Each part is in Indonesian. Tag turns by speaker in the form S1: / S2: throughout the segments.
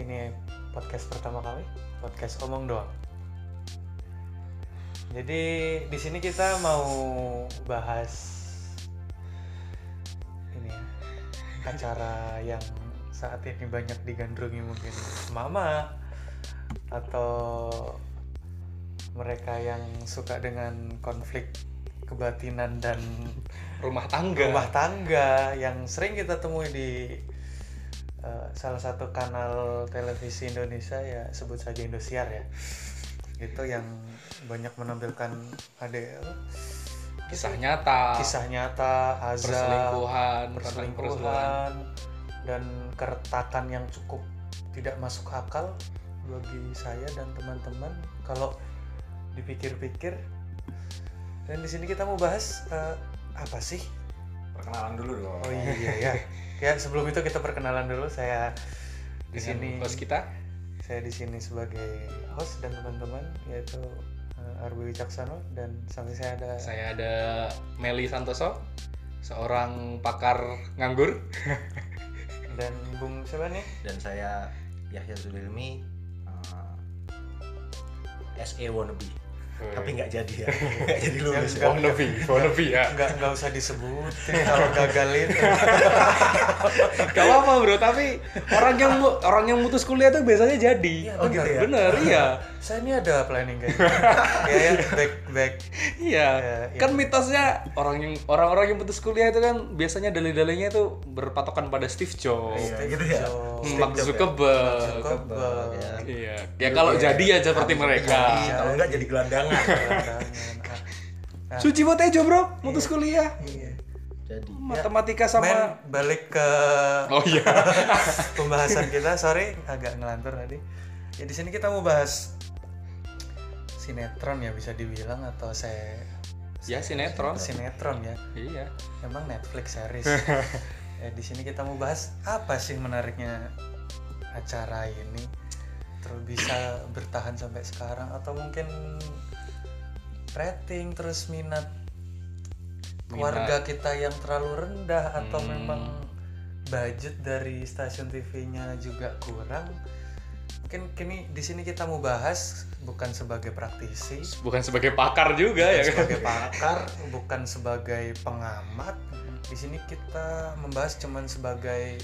S1: ini podcast pertama kali, podcast omong doang. Jadi di sini kita mau bahas ini ya, acara yang saat ini banyak digandrungi mungkin mama atau mereka yang suka dengan konflik kebatinan dan
S2: rumah tangga
S1: rumah tangga yang sering kita temui di eh, salah satu kanal televisi Indonesia ya sebut saja Indosiar ya itu yang banyak menampilkan ada apa?
S2: kisah nyata
S1: kisah nyata azab
S2: perselingkuhan perselingkuhan,
S1: perselingkuhan dan keretakan yang cukup tidak masuk akal bagi saya dan teman-teman kalau dipikir-pikir dan di sini kita mau bahas eh, apa sih
S3: perkenalan dulu dong
S1: oh iya ya ya sebelum itu kita perkenalan dulu saya di
S2: Dengan
S1: sini
S2: bos kita
S1: saya di sini sebagai host dan teman-teman yaitu eh, Arwi Wicaksono dan sampai saya ada
S2: saya ada Meli Santoso seorang pakar nganggur
S1: dan Bung siapa nih
S3: dan saya Yahya Zulilmi uh, SE wannabe tapi nggak jadi ya nggak jadi lulus
S1: Yang
S3: ya.
S2: wannabe wannabe ya
S1: nggak nggak usah disebutin kalau gagal itu
S2: gak apa, apa bro tapi orang yang mu- orang yang mutus kuliah tuh biasanya jadi
S3: Iya,
S1: Oh, gitu ya?
S2: bener iya
S1: saya ini ada planning kayak gitu. ya ya back back
S2: Iya,
S1: Ya, iya.
S2: kan mitosnya orang yang orang-orang yang putus kuliah itu kan biasanya dalih-dalihnya itu berpatokan pada Steve Jobs,
S3: Iya, gitu ya.
S1: Jobs,
S2: Mark
S3: Steve Jobs ya.
S2: Zuckerberg.
S1: Zuckerberg,
S3: ya.
S2: Iya, ya kalau jadi aja seperti mereka.
S3: Jadi, kalau nggak jadi gelandangan
S1: gelandangan. Ah,
S2: Suci Botejo bro, putus kuliah,
S1: iya.
S3: jadi
S2: matematika
S1: Men
S2: sama.
S1: balik ke
S2: Oh iya,
S1: pembahasan kita sorry agak ngelantur tadi ya di sini kita mau bahas sinetron ya bisa dibilang atau saya
S2: ya sinetron.
S1: Iya, sinetron ya
S2: Iya.
S1: emang Netflix series ya, di sini kita mau bahas apa sih menariknya acara ini terus bisa bertahan sampai sekarang atau mungkin rating terus minat warga kita yang terlalu rendah atau
S2: Hmm.
S1: memang budget dari stasiun TV-nya juga kurang mungkin kini di sini kita mau bahas bukan sebagai praktisi
S2: Bukan sebagai pakar juga ya
S1: bukan
S2: kan?
S1: sebagai pakar bukan sebagai pengamat di sini kita membahas cuman sebagai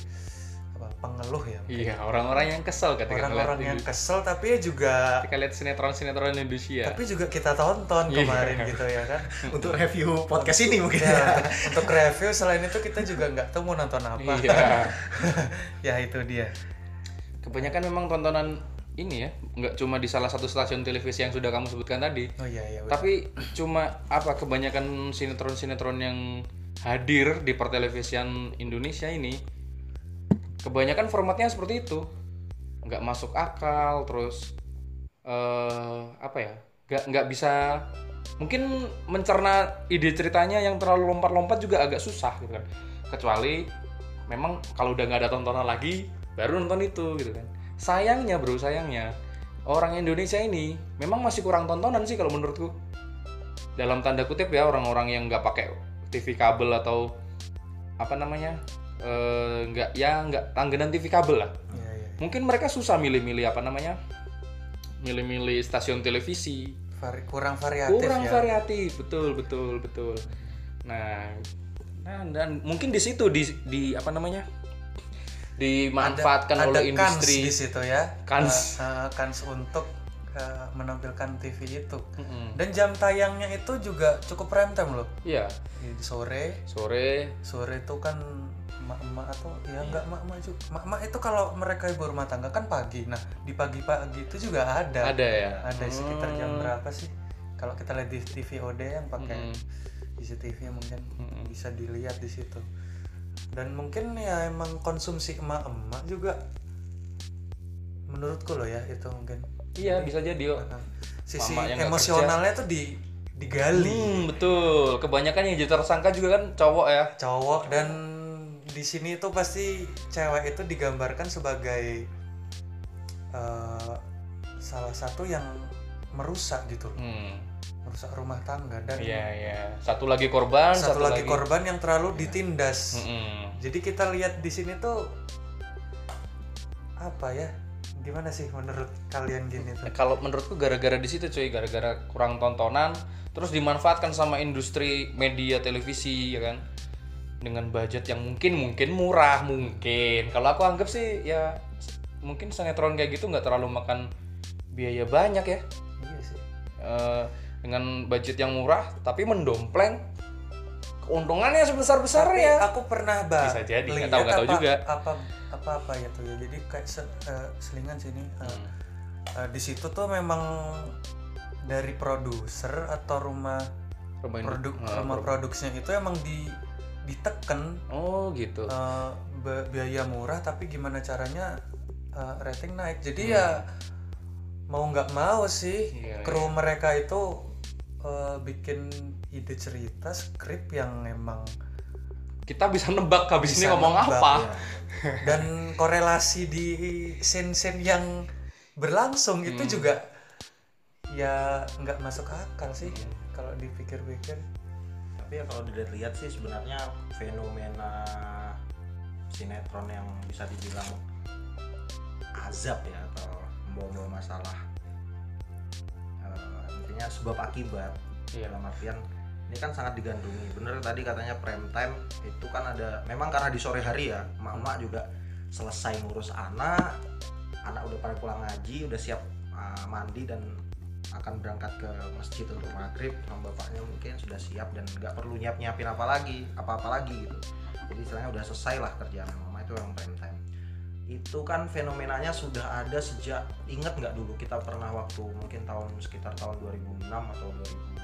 S1: apa, pengeluh ya
S2: Iya, orang-orang yang kesel ketika
S1: orang-orang
S2: ngeliat-
S1: yang kesel tapi ya juga
S2: ketika lihat sinetron-sinetron Indonesia.
S1: tapi juga kita tonton
S2: Iya.
S1: kemarin gitu ya kan
S3: untuk review podcast ini mungkin
S1: Ya,
S3: ya
S1: untuk- untuk review selain itu kita juga nggak tahu mau nonton apa
S2: Iya.
S1: ya itu dia
S2: kebanyakan memang tontonan ini ya nggak cuma di salah satu stasiun televisi yang sudah kamu sebutkan tadi
S1: oh iya iya betul.
S2: tapi cuma apa kebanyakan sinetron-sinetron yang hadir di pertelevisian Indonesia ini kebanyakan formatnya seperti itu nggak masuk akal terus eh apa ya nggak nggak bisa mungkin mencerna ide ceritanya yang terlalu lompat-lompat juga agak susah gitu kan kecuali memang kalau udah nggak ada tontonan lagi baru nonton itu gitu kan sayangnya bro sayangnya orang Indonesia ini memang masih kurang tontonan sih kalau menurutku dalam tanda kutip ya orang-orang yang nggak pakai TV kabel atau apa namanya eh, nggak ya nggak langganan TV kabel lah
S1: Iya, iya.
S2: mungkin mereka susah milih-milih apa namanya milih-milih stasiun televisi
S1: Vari- kurang variatif
S2: kurang
S1: ya
S2: variatif betul betul betul nah nah, dan mungkin di situ di di apa namanya dimanfaatkan
S1: ada
S2: oleh
S1: kans
S2: industri
S1: di situ ya
S2: Kans.
S1: Eh, eh, kans untuk eh, menampilkan TV itu
S2: Mm-mm.
S1: dan jam tayangnya itu juga cukup prime time loh
S2: iya
S1: Di sore
S2: sore
S1: sore itu kan emak-emak atau
S2: Iya.
S1: ya nggak emak-emak juga emak-emak itu kalau mereka ibu rumah tangga kan pagi nah di pagi-pagi itu juga ada
S2: ada ya
S1: ada sekitar jam
S2: Hmm.
S1: berapa sih kalau kita lihat di TV OD yang pakai
S2: Mm-mm.
S1: CCTV mungkin
S2: Mm-mm.
S1: bisa dilihat di situ dan mungkin ya emang konsumsi emak-emak juga menurutku loh ya itu mungkin
S2: iya bisa jadi oh.
S1: Nah, sisi
S2: Mama yang nggak
S1: emosionalnya tuh di digali
S2: Hmm, betul kebanyakan yang jadi tersangka juga kan cowok ya
S1: cowok dan di sini itu pasti cewek itu digambarkan sebagai eh, salah satu yang merusak gitu loh
S2: hmm
S1: merusak rumah tangga dan
S2: iya iya satu lagi Hmm. korban
S1: satu,
S2: satu, Iya.
S1: lagi, korban yang terlalu ditindas
S2: Mm-mm.
S1: Jadi kita lihat di sini tuh apa ya? gimana sih menurut kalian gini tuh?
S2: Eh, kalau menurutku gara-gara di situ cuy gara-gara kurang tontonan terus dimanfaatkan sama industri media televisi ya kan dengan budget yang mungkin mungkin murah mungkin kalau aku anggap sih ya s- mungkin sinetron kayak gitu nggak terlalu makan biaya banyak ya
S1: Iya sih.
S2: Eh, dengan budget yang murah tapi mendompleng keuntungannya sebesar
S1: Tapi
S2: besarnya
S1: aku pernah bah.
S2: Bisa jadi,
S1: lihat
S2: nggak tahu- nggak tahu
S1: apa-
S2: juga.
S1: Apa apa apa ya tuh ya. Jadi kayak se- eh, selingan sini. eh, eh, di situ tuh memang dari produser atau rumah
S2: Rumah ini-
S1: produk
S2: Ah,
S1: rumah
S2: pro-
S1: produksinya itu emang di diteken
S2: oh gitu
S1: eh, be- biaya murah tapi gimana caranya eh, rating naik jadi ya mau nggak mau sih
S2: Iya,
S1: kru mereka itu eh, bikin ide cerita skrip yang emang
S2: kita bisa nebak habis ini
S1: Bisa
S2: ngomong
S1: nebak,
S2: apa
S4: Ya,
S3: Iya.
S1: dan korelasi di scene-scene yang berlangsung itu
S2: Hmm.
S1: juga ya nggak masuk akal sih kalau dipikir-pikir
S4: tapi ya kalau dilihat-lihat sih sebenarnya fenomena sinetron yang bisa dibilang azab ya atau membawa masalah eh, intinya sebab akibat
S2: Iya.
S4: dalam artian ini kan sangat digandrungi bener tadi katanya prime time itu kan ada memang karena di sore hari ya mama juga selesai ngurus anak anak udah pada pulang ngaji udah siap uh, mandi dan akan berangkat ke masjid untuk maghrib sama bapaknya mungkin sudah siap dan nggak perlu nyiap nyiapin apa lagi apa apa lagi gitu jadi istilahnya udah selesai lah kerjaan mama itu yang prime time itu kan fenomenanya sudah ada sejak inget nggak dulu kita pernah waktu mungkin tahun sekitar tahun 2006 atau 2000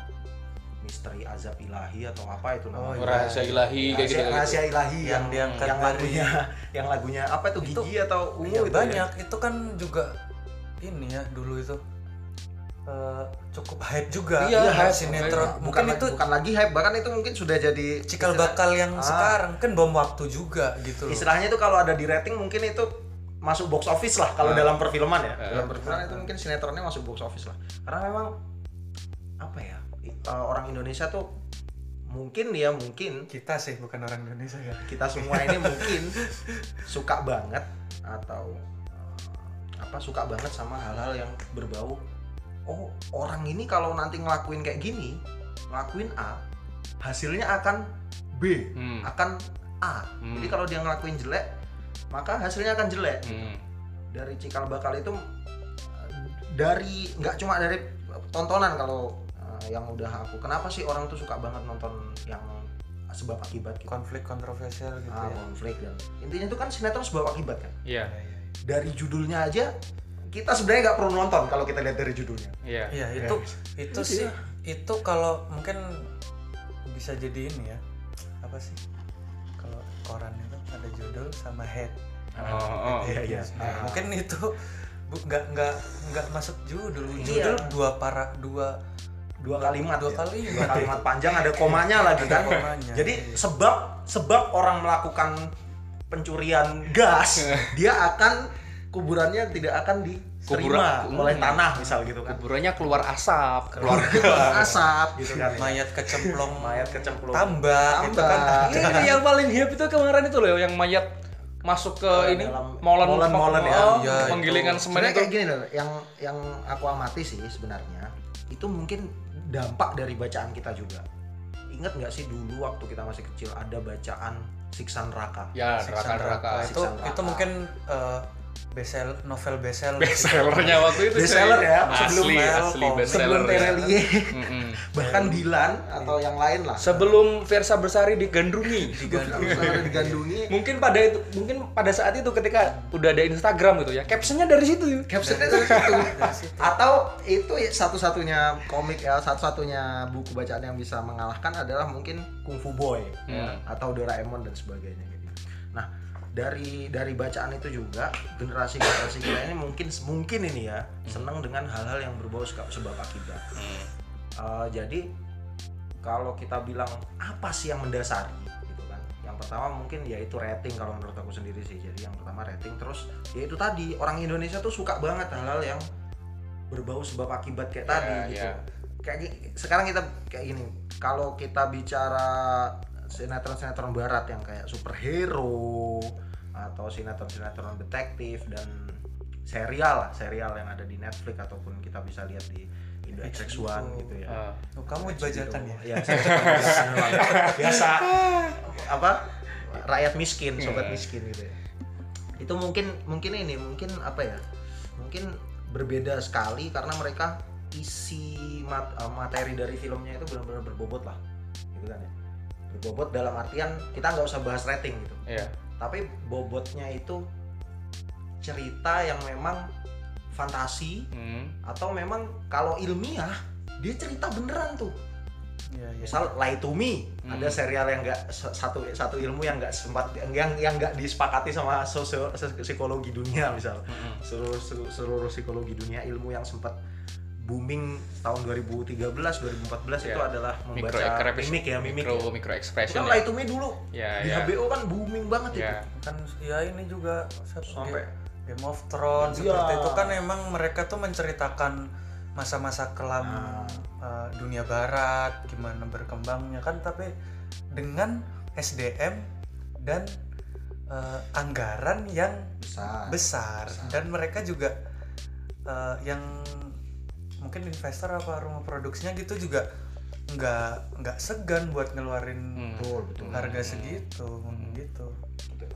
S4: misteri azab ilahi atau apa itu
S1: Oh,
S4: namanya
S1: iya.
S2: rahasia ilahi kayak gitu,
S4: rahasia, rahasia ilahi
S1: Yang
S4: yang
S1: diangkat
S4: yang
S1: dari-
S4: lagunya yang lagunya apa itu
S1: Itu-
S4: gigi atau ungu
S1: Iya,
S4: itu ya?
S1: banyak itu kan juga ini ya dulu itu eh, cukup hype juga
S2: Iya,
S1: ya,
S2: hype.
S1: sinetron
S4: Nah,
S1: mungkin
S4: bukan
S1: itu
S4: itu bukan lagi hype bahkan itu mungkin sudah jadi
S1: cikal
S4: istilah-
S1: bakal yang
S4: Ah.
S1: sekarang kan bom waktu juga gitu loh
S4: istilahnya itu kalau ada di rating mungkin itu masuk box office lah kalau
S1: Nah.
S2: Ah.
S4: dalam perfilman
S1: Eh.
S4: ya
S2: Ah.
S4: dalam perfilman itu mungkin sinetronnya masuk box office lah karena memang apa ya i- uh, orang Indonesia tuh mungkin ya mungkin
S1: kita sih bukan orang Indonesia ya
S4: kita semua ini mungkin suka banget atau uh, apa suka banget sama hal-hal yang berbau oh orang ini kalau nanti ngelakuin kayak gini ngelakuin A hasilnya akan B
S2: Hmm.
S4: akan A
S2: Hmm.
S4: jadi kalau dia ngelakuin jelek maka hasilnya akan jelek
S2: Hmm.
S4: dari cikal bakal itu eh, dari nggak cuma dari tontonan kalau eh, yang udah aku kenapa sih orang tuh suka banget nonton yang sebab akibat gitu
S1: konflik kontroversial gitu
S4: ah,
S1: ya.
S4: konflik dan intinya itu kan sinetron sebab akibat kan
S1: Iya,
S2: iya
S1: iya, iya.
S4: dari judulnya aja kita sebenarnya nggak perlu nonton kalau kita lihat dari judulnya
S2: iya
S1: Iya, itu itu
S4: Iya.
S1: sih itu kalau mungkin bisa jadi ini ya apa sih kalau koran itu ada judul sama head
S2: Oh, oh.
S1: Head
S4: iya, iya.
S1: news.
S4: Ah.
S1: mungkin itu bu- nggak nggak nggak masuk judul
S4: Iya.
S1: judul dua para dua
S4: dua kalimat
S1: dua
S4: ya.
S1: kali
S4: dua kalimat panjang ada komanya lagi
S1: Ada
S4: kan
S1: komanya,
S4: jadi
S1: Iya. iya.
S4: sebab sebab orang melakukan pencurian gas dia akan kuburannya tidak akan diterima
S2: Kuburan-
S4: oleh
S2: hmm.
S4: tanah misal gitu kan
S2: kuburannya keluar asap keluar
S4: keluar keluar asap gitu kan
S1: mayat kecemplung
S4: mayat kecemplung
S1: Iya. tambah, itu kan
S4: Tambah.
S2: Ini nih yang paling hype itu kemarin itu loh yang mayat masuk ke
S4: Eh,
S2: ini
S4: dalam-
S2: molen
S4: molen- molen ya.
S2: Oh,
S1: Iya, itu.
S2: penggilingan semen
S4: sebenarnya
S2: itu gitu.
S4: kayak gini loh yang yang aku amati sih sebenarnya itu mungkin dampak dari bacaan kita juga ingat nggak sih dulu waktu kita masih kecil ada bacaan siksa neraka
S2: ya
S1: siksa neraka
S2: neraka-neraka
S1: Nah, itu
S4: Siksa neraka.
S1: itu mungkin eh, bestsell novel bestseller
S2: bestsellernya waktu itu cuy.
S4: Bestseller ya,
S2: asli
S1: sebelum
S2: asli
S1: Telkom.
S2: bestseller
S4: sebelum
S2: ya.
S4: Terelie
S2: Mm-mm.
S4: bahkan Dilan atau yang lain lah
S2: sebelum Versa Bersari digandrungi
S4: digandungi ada digandungi
S2: mungkin pada itu mungkin pada saat itu ketika udah ada Instagram gitu ya captionnya dari situ
S4: captionnya dari situ atau itu ya satu-satunya komik ya satu-satunya buku bacaan yang bisa mengalahkan adalah mungkin Kung Fu Boy ya, atau Doraemon dan sebagainya gitu. nah dari dari bacaan itu juga generasi generasi kita ini mungkin mungkin ini ya senang dengan hal-hal yang berbau suka- sebab akibat Eh, jadi kalau kita bilang apa sih yang mendasari gitu kan yang pertama mungkin ya itu rating kalau menurut aku sendiri sih jadi yang pertama rating terus ya itu tadi orang Indonesia tuh suka banget hal-hal yang berbau sebab akibat kayak tadi
S2: Ya,
S4: gitu
S2: ya.
S4: kayak gi- sekarang kita kayak gini kalau kita bicara sinetron-sinetron barat yang kayak superhero atau sinetron-sinetron detektif dan serial lah serial yang ada di Netflix ataupun kita bisa lihat di Indo XX1 gitu ya
S2: Ah.
S1: Oh, kamu
S4: Gitu.
S1: bajakan ya?
S4: Iya, saya bajakan banget. biasa apa rakyat miskin sobat
S2: Iya.
S4: miskin gitu ya itu mungkin mungkin ini mungkin apa ya mungkin berbeda sekali karena mereka isi mat- eh, materi dari filmnya itu benar-benar berbobot lah gitu kan ya berbobot dalam artian kita nggak usah bahas rating gitu
S2: Iya.
S4: tapi bobotnya itu cerita yang memang fantasi
S2: Hmm.
S4: atau memang kalau ilmiah dia cerita beneran tuh
S1: Iya, iya.
S4: misal Lie to Me
S2: Hmm.
S4: ada serial yang enggak satu satu ilmu yang enggak sempat yang yang enggak disepakati sama sosio, psikologi dunia misal
S2: Mm-mm.
S4: seluruh seluruh- seluruh psikologi dunia ilmu yang sempat booming tahun 2013 2014 itu
S2: Ya.
S4: adalah
S2: Micro
S4: membaca
S2: expression.
S4: mimik ya mimik
S2: Micro
S4: ya.
S2: micro
S4: kan
S2: expression.
S4: Lie to Me dulu
S2: Ya,
S4: di
S2: ya.
S4: HBO kan booming banget
S2: Ya.
S4: itu
S1: kan ya ini juga satu
S4: sampai
S1: Game- Game of Thrones
S4: Iya.
S1: seperti itu kan emang mereka tuh menceritakan masa-masa kelam
S4: Nah.
S1: eh, dunia barat gimana berkembangnya kan tapi dengan SDM dan eh, anggaran yang
S4: besar
S1: besar
S4: Nah, Besar.
S1: dan mereka juga eh, yang mungkin investor apa rumah produksinya gitu juga nggak nggak segan buat ngeluarin
S2: Hmm.
S4: betul betul
S1: harga
S2: Hmm.
S1: segitu
S2: Hmm.
S1: gitu
S4: Gitu.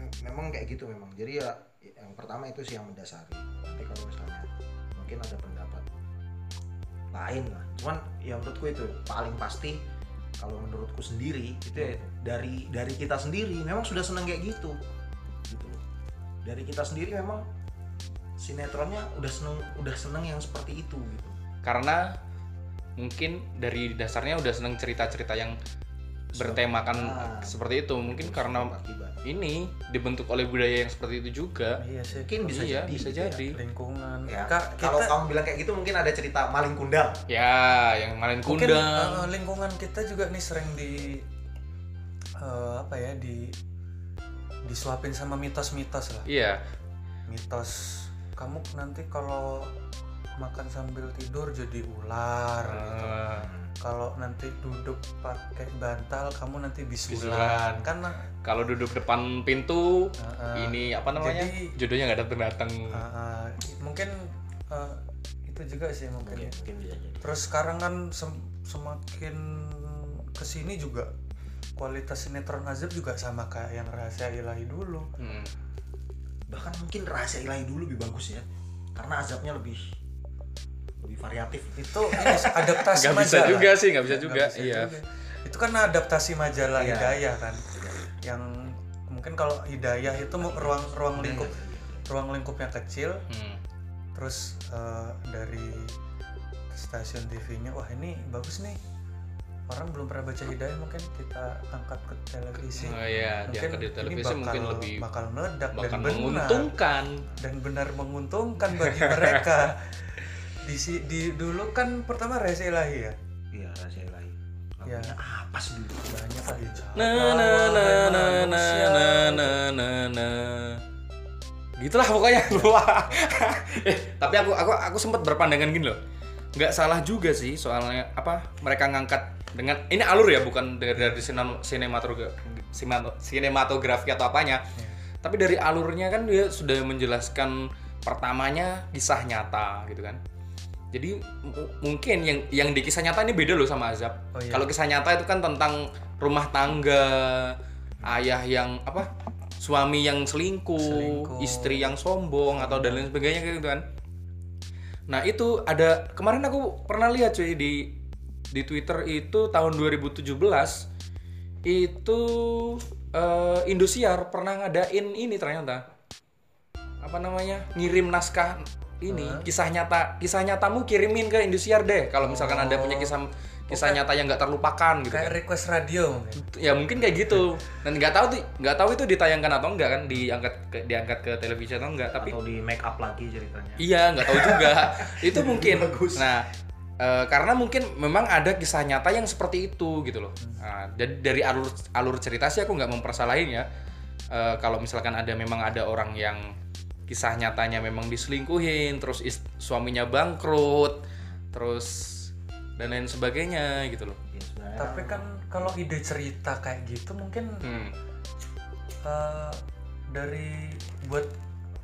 S4: Mem- memang kayak gitu memang jadi ya yang pertama itu sih yang mendasari nanti kalau misalnya mungkin ada pendapat lain lah cuman ya menurutku itu paling pasti kalau menurutku sendiri itu ya
S2: Hmm.
S4: dari dari kita sendiri memang sudah seneng kayak gitu gitu loh. dari kita sendiri memang sinetronnya udah seneng udah seneng yang seperti itu gitu
S2: Karena mungkin dari dasarnya udah seneng cerita-cerita yang bertemakan
S4: Ah.
S2: seperti itu. Mungkin karena
S4: Akibat.
S2: ini dibentuk oleh budaya yang seperti itu
S4: Hmm.
S2: juga.
S1: iya sih
S4: mungkin bisa
S2: Iya,
S4: jadi
S2: bisa
S4: gitu ya.
S2: jadi.
S1: lingkungan
S4: Ya,
S1: Kak,
S4: kalau
S1: kita
S4: kamu bilang kayak gitu mungkin ada cerita maling kundang
S2: Ya, yang malin
S1: mungkin
S2: kundang.
S4: ah.
S1: eh, lingkungan kita juga nih sering di eh, apa ya di disuapin sama mitos-mitos lah
S2: Iya.
S1: mitos kamu nanti kalau makan sambil tidur jadi ular gitu.
S2: Eh,
S1: kalau nanti duduk pakai bantal kamu nanti
S2: Bisulan.
S1: bisulan kan eh,
S2: kalau duduk depan pintu
S1: eh,
S2: ini apa namanya?
S1: jadi-
S2: Jodohnya nggak datang datang.
S1: eh, eh, mungkin eh, itu juga sih mungkin ya.
S4: mungkin bisa jadi
S1: terus sekarang kan sem- semakin kesini juga kualitas sinetron azab juga sama kayak yang rahasia ilahi dulu
S2: Hmm.
S4: bahkan mungkin rahasia ilahi dulu lebih bagus ya karena azabnya lebih lebih variatif gitu
S1: itu
S4: ya.
S1: ini sih, adaptasi
S2: Nggak bisa
S1: majalah
S2: juga sih, nggak bisa
S1: Nggak
S2: juga.
S1: bisa
S2: Iya.
S1: juga. itu kan adaptasi majalah
S4: Iya.
S1: hidayah kan yang mungkin kalau hidayah itu mau ruang ruang
S2: Iya.
S4: Iya,
S1: lingkup ruang lingkup yang kecil
S2: Hmm.
S1: terus eh, dari stasiun TV-nya wah ini bagus nih orang belum pernah baca hidayah mungkin kita angkat ke televisi
S2: Oh iya,
S1: mungkin
S2: diangkat di
S1: ini
S2: televisi
S1: bakal,
S2: mungkin lebih
S1: bakal meledak dan
S2: bahkan
S1: benar
S2: menguntungkan.
S1: dan benar menguntungkan bagi mereka di, si- di dulu kan pertama Reza Ilahi ya
S4: iya rahasia ilahi
S1: Iya.
S4: lagunya apa sih Ah, dulu
S1: banyak lagi
S2: Na
S1: Nah,
S2: na na na na na na na na. Gitulah pokoknya Wah. eh, tapi aku aku aku sempat berpandangan gini loh. Nggak salah juga sih soalnya apa mereka ngangkat dengan ini alur ya bukan dari, dari sinan- sinematogra- simato- sinematografi atau apanya.
S1: Iya.
S2: Tapi dari alurnya kan dia sudah menjelaskan pertamanya kisah nyata gitu kan. Jadi mu- mungkin yang yang di kisah nyata ini beda loh sama azab.
S1: Oh, iya.
S2: Kalau kisah nyata itu kan tentang rumah tangga, ayah yang apa, suami yang selingkuh,
S1: Selingkuh. Hmm.
S2: istri yang sombong atau dan lain sebagainya kayak gitu kan. Nah itu ada kemarin aku pernah lihat cuy di di Twitter itu tahun 2017 itu eh, Indosiar pernah ngadain ini ternyata apa namanya ngirim naskah ini kisah nyata kisah nyatamu kirimin ke Indosiar deh kalau misalkan anda punya
S1: Oh,
S2: kisah kisah nyata yang nggak terlupakan gitu
S1: kayak
S2: kan.
S1: request radio mungkin
S2: ya mungkin kayak gitu dan nggak tahu tuh nggak tahu itu ditayangkan atau enggak kan diangkat ke, diangkat ke televisi atau enggak tapi
S4: atau di make up lagi ceritanya
S2: Iya, nggak tahu juga. itu mungkin.
S4: Bagus.
S2: Nah, eh, karena mungkin memang ada kisah nyata yang seperti itu gitu loh. Nah, jadi dari alur alur cerita sih aku nggak mempersalahin ya. Eh, kalau misalkan ada memang ada orang yang kisah nyatanya memang diselingkuhin, terus is- suaminya bangkrut, terus dan lain sebagainya gitu loh.
S4: Ya, sebenarnya
S1: tapi kan kalau ide cerita kayak gitu mungkin
S2: Hmm.
S1: eh, dari buat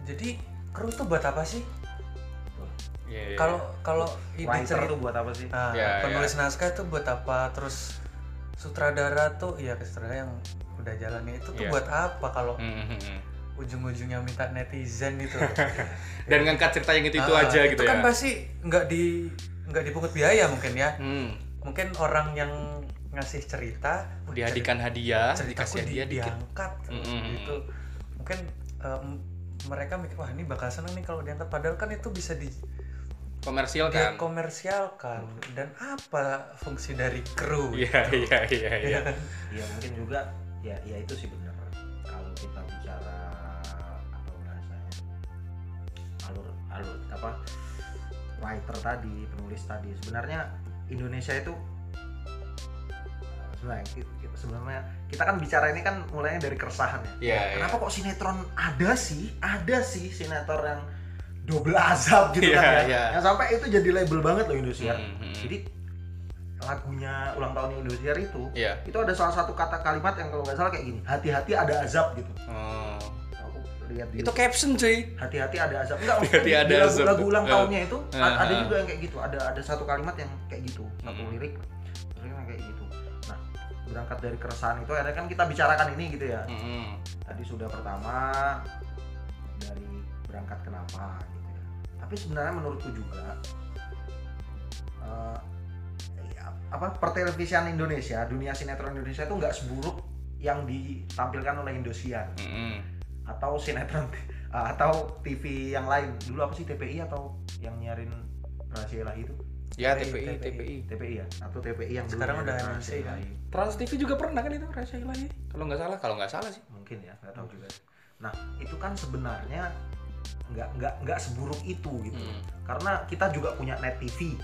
S1: jadi kru tuh buat apa sih
S2: Iya, iya.
S1: kalau kalau ide
S4: writer
S1: cerita-
S4: tuh buat apa sih
S1: Nah,
S2: Ya,
S1: penulis naskah tuh buat apa? Terus sutradara tuh ya sutradara yang udah jalannya itu tuh
S2: Iya.
S1: buat apa kalau
S2: Hmm, hmm, hmm, hmm.
S1: ujung-ujungnya minta netizen itu?
S2: dan ngangkat cerita yang itu itu
S1: Ah,
S2: aja gitu
S1: Itu kan
S2: ya
S1: pasti nggak di nggak dipungut biaya mungkin ya.
S2: hmm.
S1: Mungkin orang yang ngasih cerita "Wih,
S2: diadikan hadiah
S1: cerita-
S2: dikasih
S1: ceritaku di-
S2: hadiah dikit
S1: diangkat terus
S2: Mm-mm.
S1: gitu. Mungkin em, mereka mikir wah ini bakal seneng nih kalau diangkat padahal kan itu bisa di
S2: komersial kan
S1: dikomersialkan dan apa fungsi dari kru kan?
S2: iya iya iya iya
S4: ya mungkin juga ya ya itu sih benar kalau kita bicara apa bahasanya alur alur apa writer tadi penulis tadi sebenarnya Indonesia itu eh, sebenarnya ki- ki- sebenarnya kita kan bicara ini kan mulainya dari keresahan ya
S2: iya iya.
S4: kenapa kok sinetron ada sih ada sih sinetron yang double azab gitu
S2: Iya,
S4: kan ya
S2: iya.
S4: yang sampai itu jadi label banget loh Indonesia
S2: Hmm, hmm, hmm.
S4: jadi lagunya ulang tahun Indonesia itu
S2: iya
S4: itu ada salah satu kata kalimat yang kalau nggak salah kayak gini hati-hati ada azab gitu
S2: Oh.
S4: aku lihat di
S2: itu caption cuy
S4: hati-hati ada azab enggak
S2: Hati-hati
S4: maksudnya di-
S2: ada
S4: di
S2: azab.
S4: lagu-lagu ulang
S2: Eh.
S4: tahunnya itu a-
S2: Eh,
S4: ada
S2: eh. Hmm.
S4: juga yang kayak gitu ada ada satu kalimat yang kayak gitu satu
S2: Mm-mm.
S4: lirik liriknya kayak gitu nah berangkat dari keresahan itu akhirnya kan kita bicarakan ini gitu ya
S2: Hmm.
S4: tadi sudah pertama dari berangkat kenapa gitu ya. tapi sebenarnya menurutku juga eh, ya, apa pertelevisian Indonesia dunia sinetron Indonesia itu nggak seburuk yang ditampilkan oleh Indosiar
S2: Hmm.
S4: atau sinetron eh, atau TV yang lain dulu apa sih TPI atau yang nyarin rahasia ilahi itu
S2: ya
S1: TPI,
S2: TPI TPI
S4: TPI ya atau TPI yang dulu
S1: Sekarang
S4: nyarin
S1: udah
S4: rahasia
S1: NMC kan?
S4: ilahi.
S2: Trans TV juga pernah kan itu Rahasia Ilahi kalau nggak salah kalau nggak salah sih
S4: mungkin ya nggak tahu juga nah itu kan sebenarnya nggak nggak nggak seburuk itu gitu
S2: Hmm.
S4: karena kita juga punya net TV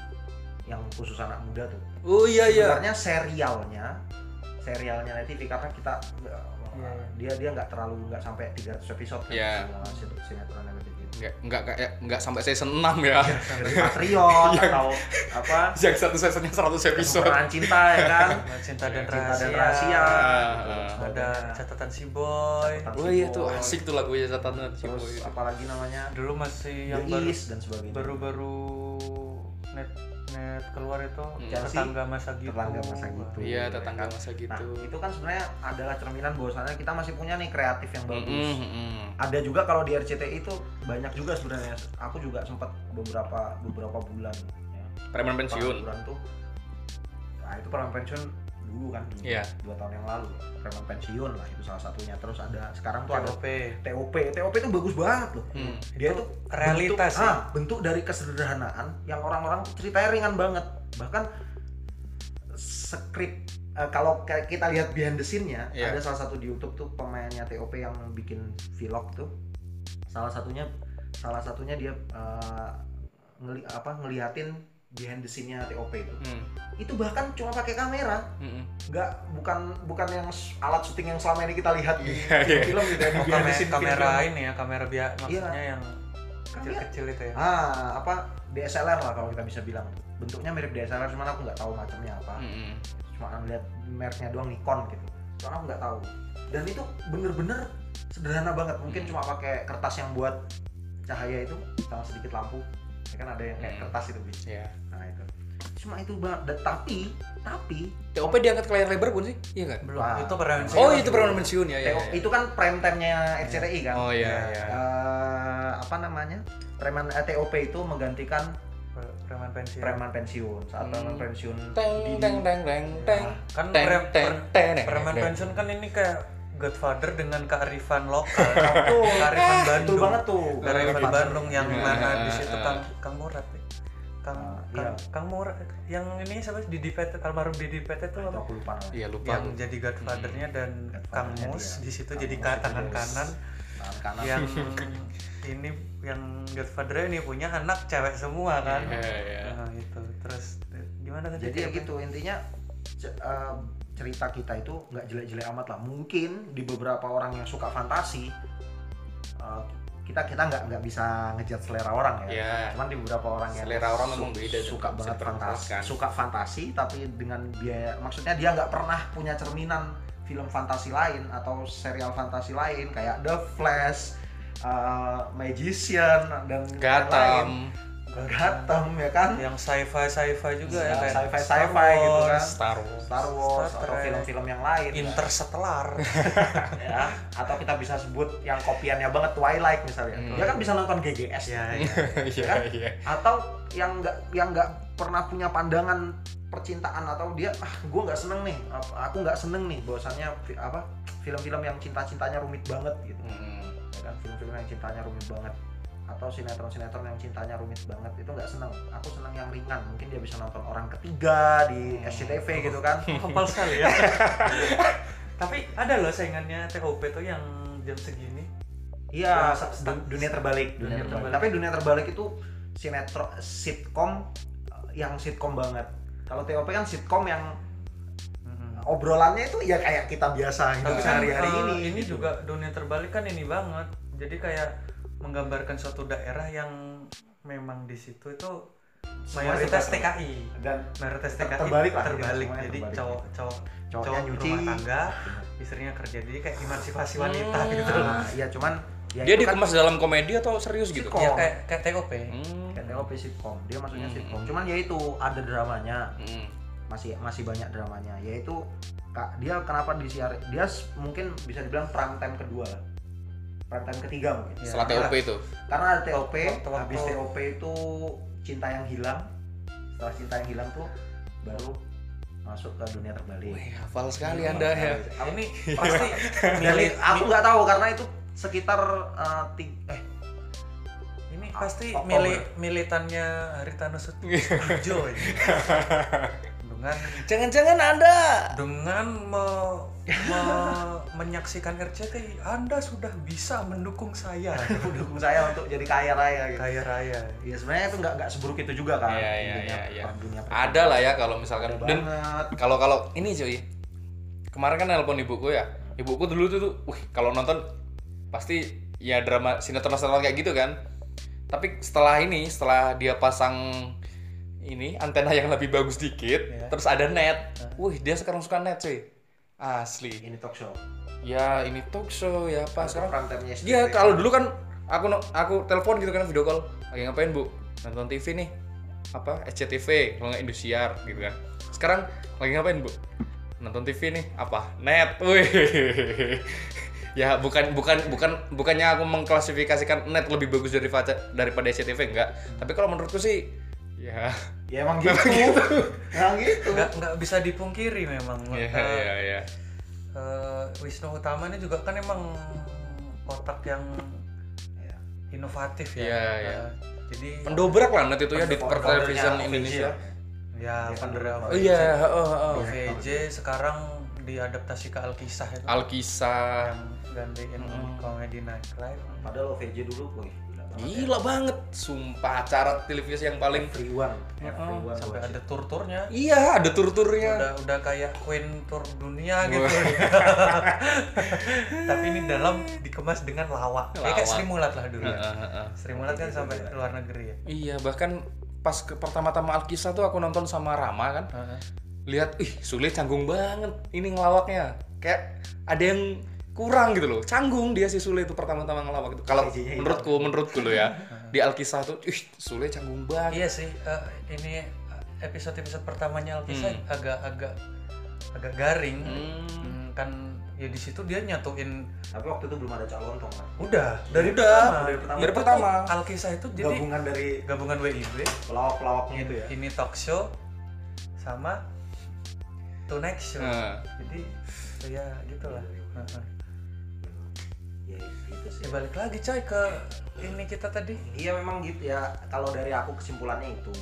S4: yang khusus anak muda tuh
S2: oh iya iya
S4: sebenarnya serialnya serialnya net TV karena kita nggak-
S1: Iya.
S4: dia dia nggak terlalu nggak sampai 300 episode kan
S2: Iya.
S4: semua sin- sinetron net TV
S2: nggak nggak kayak nggak sampai season 6 ya
S4: dari Patriot
S2: Iya.
S4: atau apa
S2: yang satu seasonnya 100 episode
S4: Peran cinta ya kan
S1: cinta dan
S4: cinta
S1: rahasia,
S4: dan rahasia gitu,
S2: Ah,
S4: sebagainya.
S1: ada catatan si boy
S2: oh
S4: Catatan
S2: iya tuh asik tuh lagunya catatan si
S4: terus
S2: boy itu.
S4: apalagi namanya
S1: dulu masih
S4: The
S1: yang baru
S4: East dan sebagainya
S1: baru-baru net net keluar itu
S4: Chelsea,
S1: tetangga masa gitu
S4: tetangga masa gitu.
S2: iya tetangga masa
S4: Nah,
S2: gitu
S4: itu kan sebenarnya adalah cerminan bahwasannya kita masih punya nih kreatif yang bagus.
S2: Mm, mm, mm.
S4: Ada juga kalau di RCTI itu banyak juga sebenarnya. Aku juga sempat beberapa beberapa bulan ya.
S2: preman pensiun
S4: Peraturan tuh. Nah, itu preman pensiun dulu kan dulu.
S2: Iya.
S4: Dua tahun yang lalu preman pensiun lah itu salah satunya. Terus ada sekarang tuh ada
S1: TOP
S4: TOP. TOP itu bagus banget loh.
S2: Iya. Hmm.
S4: Dia
S1: Itu
S4: itu
S1: realitas
S4: bentuk,
S1: ya?
S4: ah, bentuk dari kesederhanaan yang orang-orang ceritanya ringan banget. Bahkan skrip eh, kalau ke- kita lihat behind the scene-nya
S2: Iya.
S4: ada salah satu di YouTube tuh pemainnya TOP yang bikin vlog tuh. Salah satunya salah satunya dia eh, ngeli- apa ngeliatin behind the scene-nya TOP itu.
S2: Hmm,
S4: Itu bahkan cuma pakai kamera
S2: mm, mm.
S4: nggak bukan bukan yang s- alat syuting yang selama ini kita lihat di
S2: Iya, iya.
S4: film gitu ya, di
S1: oh,
S4: behind the
S1: kamera,
S4: scene
S1: kamera
S4: film-film.
S1: ini ya kamera biasa maksudnya yang
S4: Kamera.
S1: kecil-kecil itu ya
S4: ah apa DSLR lah kalau kita bisa bilang bentuknya mirip DSLR cuman aku nggak tahu macamnya apa
S2: Mm, mm.
S4: cuma ngeliat mereknya doang Nikon gitu cuman aku nggak tahu dan itu bener-bener sederhana banget mungkin
S2: Hmm.
S4: cuma pakai kertas yang buat cahaya itu sama sedikit lampu ya kan ada yang kayak
S2: Hmm.
S4: kertas itu Bi.
S2: ya
S4: nah itu cuma itu banget Dan- tapi tapi
S2: TOP diangkat ke layar lebar bukan sih iya kan
S1: belum
S4: Ah.
S1: itu prevensi
S2: oh itu preman pensiun ya ya,
S4: TO
S2: ya.
S4: itu kan prime time-nya RCTI kan
S2: oh iya iya
S4: Eh, apa namanya preman eh, TOP itu menggantikan
S1: preman pensi
S4: preman pensiun saat preman
S2: Hmm.
S4: pensiun
S2: teng
S4: di-
S2: teng teng teng teng
S1: kan
S2: teng
S1: pre-
S2: teng
S1: pre-
S2: teng teng,
S1: preman
S2: teng.
S1: pensiun kan ini kayak Godfather dengan kearifan lokal
S4: Betul.
S1: kearifan
S4: betul
S1: Bandung
S4: banget tuh
S1: Dari
S2: Bandung.
S1: Bandung yang
S2: Iya.
S1: mana di situ Kang Kang Murad ya. Kang
S4: Ah, iya.
S1: Kang, Kang Murad yang ini siapa sih Didi Petet almarhum Didi Petet tuh
S4: Itu
S1: apa?
S4: aku lupa namanya.
S2: iya lupa
S1: yang jadi godfathernya dan Kang
S4: Godfather-nya
S1: Mus
S4: dia.
S1: di situ
S4: Kang
S1: jadi
S4: Mus
S1: ke
S4: itu
S1: tangan
S4: jadi
S1: kanan
S4: Tangan kanan
S1: yang ini yang godfather ini punya anak cewek semua kan
S2: Iya, iya.
S1: Nah, gitu terus eh, gimana tadi
S4: Ya. jadi ya
S1: ceritanya?
S4: gitu intinya ce- eh, cerita kita itu nggak jelek-jelek amat lah mungkin di beberapa orang yang suka fantasi eh, kita kita nggak nggak bisa ngejat selera orang ya
S2: Iya.
S4: cuman di beberapa orang yang
S2: Selera orang memang beda dan
S4: suka
S2: bisa
S4: banget fantasi
S2: diperkenalkan.
S4: suka fantasi tapi dengan biaya maksudnya dia nggak pernah punya cerminan film fantasi lain atau serial fantasi lain kayak The Flash eh, magician dan lain-lain.
S2: Gatam,
S4: Gatam ya kan
S1: yang sci-fi sci-fi juga ya
S4: Nah,
S1: kayak
S4: sci-fi
S1: Star
S4: sci-fi gitu
S1: Wars,
S4: kan
S2: Star Wars.
S4: Star Wars
S1: Star
S4: atau
S1: Trek.
S4: film-film yang lain kan.
S1: interstellar
S4: ya atau kita bisa sebut yang kopiannya banget Twilight misalnya
S2: Hmm.
S4: dia kan bisa nonton GGS
S3: ya, ya.
S2: Iya, iya.
S4: atau yang nggak yang nggak pernah punya pandangan percintaan atau dia ah gue nggak seneng nih Ap- aku nggak seneng nih bahwasannya fi- apa film-film yang cinta-cintanya rumit banget gitu
S2: Hmm.
S4: ya kan film-film yang cintanya rumit banget atau sinetron-sinetron yang cintanya rumit banget itu nggak seneng aku seneng yang ringan mungkin dia bisa nonton orang ketiga di
S2: Hmm.
S4: SCTV gitu kan
S1: hafal sekali ya tapi ada loh saingannya TKUP tuh yang jam segini
S4: Iya,
S1: Yang substance.
S4: du- dunia terbalik,
S1: Dunia
S4: dunia, terbalik.
S1: terbalik.
S4: Tapi dunia terbalik itu sinetron sitkom eh, yang sitkom banget. Kalau TOP kan sitkom yang obrolannya itu ya kayak kita biasa hidup
S1: tapi kan
S4: Hmm.
S1: eh,
S4: sehari-hari ini. gitu.
S1: ini juga dunia terbalik kan ini banget jadi kayak menggambarkan suatu daerah yang memang di situ itu
S4: Semuanya
S1: mayoritas
S4: serba terbalik.
S1: TKI
S4: Gitu. dan
S1: mayoritas
S4: Ter-
S1: TKI
S4: terbalik lah,
S1: terbalik.
S4: semuanya
S1: jadi
S4: terbalik.
S1: cowok cowok
S4: cowoknya
S1: cowok
S4: nyuci.
S1: rumah tangga istrinya kerja jadi kayak emansipasi wanita
S2: Hmm.
S1: gitu loh
S4: Nah, iya cuman ya
S2: Dia
S4: itu kan
S2: dikemas dalam komedi atau serius gitu?
S4: Sitcom.
S1: ya kayak kayak TKP
S2: Hmm.
S4: kayak TOP sitkom. Dia maksudnya
S2: Hmm.
S4: sitkom. Cuman ya itu ada dramanya.
S2: Hmm.
S4: masih masih banyak dramanya yaitu kak dia kenapa disiar dia s- mungkin bisa dibilang prime time kedua lah prime time ketiga mungkin
S1: Ya,
S2: Setelah TOP itu.
S4: karena ada TOP
S1: Waktu-waktu-
S4: habis TOP itu cinta yang hilang setelah cinta yang hilang tuh baru masuk ke dunia terbalik
S2: Wih, Iya. hafal sekali Anda ya.
S1: Ah, ini pasti
S4: Jadi,
S1: milih
S4: aku nggak tahu karena itu sekitar eh, ti- eh
S1: ini pasti
S4: Oktober.
S1: milih militannya Rita Nasution dengan
S2: Jangan-jangan Anda.
S1: dengan me- me- menyaksikan RCTI Anda sudah bisa mendukung saya
S4: mendukung saya untuk jadi kaya raya gitu
S1: kaya raya
S4: ya sebenarnya itu nggak nggak seburuk itu juga kan
S2: Iya, iya,
S4: dunia
S2: iya, iya.
S4: per- dunia per-
S2: Ada lah ya kalau misalkan.
S4: ada
S2: Dan
S4: banget
S2: kalau kalau ini cuy. Kemarin kan nelpon ibuku ya. Ibuku dulu tuh, tuh wih, kalau nonton pasti ya drama sinetron-sinetron kayak gitu kan. Tapi setelah ini, setelah dia pasang ini antena yang lebih bagus dikit,
S1: Iya.
S2: terus ada net. Wih, dia sekarang suka net cuy. Asli.
S4: ini talk show
S2: Ya, ini talk show ya apa sekarang
S4: prime time-nya SCTV.
S2: Iya, kalau dulu kan aku no- aku telepon gitu kan video call. Lagi ngapain, Bu? Nonton TV nih. Apa? SCTV, kalau nggak Indosiar gitu kan. Sekarang lagi ngapain, Bu? Nonton TV nih. Apa? Net. Wih. ya, bukan bukan bukan bukannya aku mengklasifikasikan net lebih bagus dari faca- daripada SCTV enggak. Tapi kalau menurutku sih ya
S4: Ya emang gitu. emang gitu.
S1: nggak nggak bisa dipungkiri memang
S2: ya
S1: Eh,
S2: ya ya.
S1: eh, Wisnu Utama ini juga kan emang kotak yang
S4: Iya.
S1: inovatif ya
S2: Iya, iya.
S1: Eh, jadi
S2: Pendobrak lah net itu ya di
S4: Founder-
S2: pertelevisian
S4: foundernya
S2: Indonesia.
S1: ya
S4: Iya,
S1: Pandora
S4: kan.
S2: Oh iya, heeh, heeh.
S1: VJ sekarang diadaptasi ke Alkisah itu
S2: Alkisah.
S1: yang gantiin
S2: Mm.
S1: komedi nightlife
S4: ya, Padahal OVJ dulu, woi. ya.
S2: Gila banget, sumpah acara televisi yang Iya, paling
S4: Free one.
S2: Ya,
S4: Free one
S1: sampai
S4: gua
S1: ada
S4: sih.
S1: tur-turnya
S2: Iya, ada tur-turnya.
S1: udah udah kayak Queen tour dunia gitu tapi ini dalam dikemas dengan lawak Ya,
S2: Lawak.
S1: kayak Sri Mulat lah dulu ya
S2: Heeh, heeh.
S1: Sri Mulat kan sampai luar negeri ya
S2: Iya, bahkan pas ke pertama-tama Alkisah tuh aku nonton sama Rama kan. Lihat, ih, Sule canggung banget ini ngelawaknya. Kayak ada yang kurang gitu loh. Canggung dia si Sule itu pertama-tama ngelawak itu. Kalau
S4: Izinnya hilang.
S2: menurutku, menurutku lo ya. Di Alkisah tuh, ih, Sule canggung banget.
S1: iya sih eh, ini episode episode pertamanya Alkisah
S2: Hmm.
S1: agak agak agak garing
S2: Hmm.
S1: Hmm, kan ya di situ dia nyatuin
S4: Tapi waktu itu belum ada calon tong kan.
S1: udah dari
S2: Udah,
S1: pertama.
S4: dari pertama.
S1: Itu
S2: Dari pertama.
S1: tuh Alkisah itu jadi
S4: Gabungan dari
S1: gabungan WIB
S4: pelawak-pelawaknya itu ya.
S1: ini talk show sama tonight show
S2: Nah,
S1: jadi ya gitulah Heeh.
S4: Ya itu sih.
S1: ya balik lagi coy ke ini kita tadi
S4: Iya memang gitu ya. Kalau dari aku kesimpulannya itu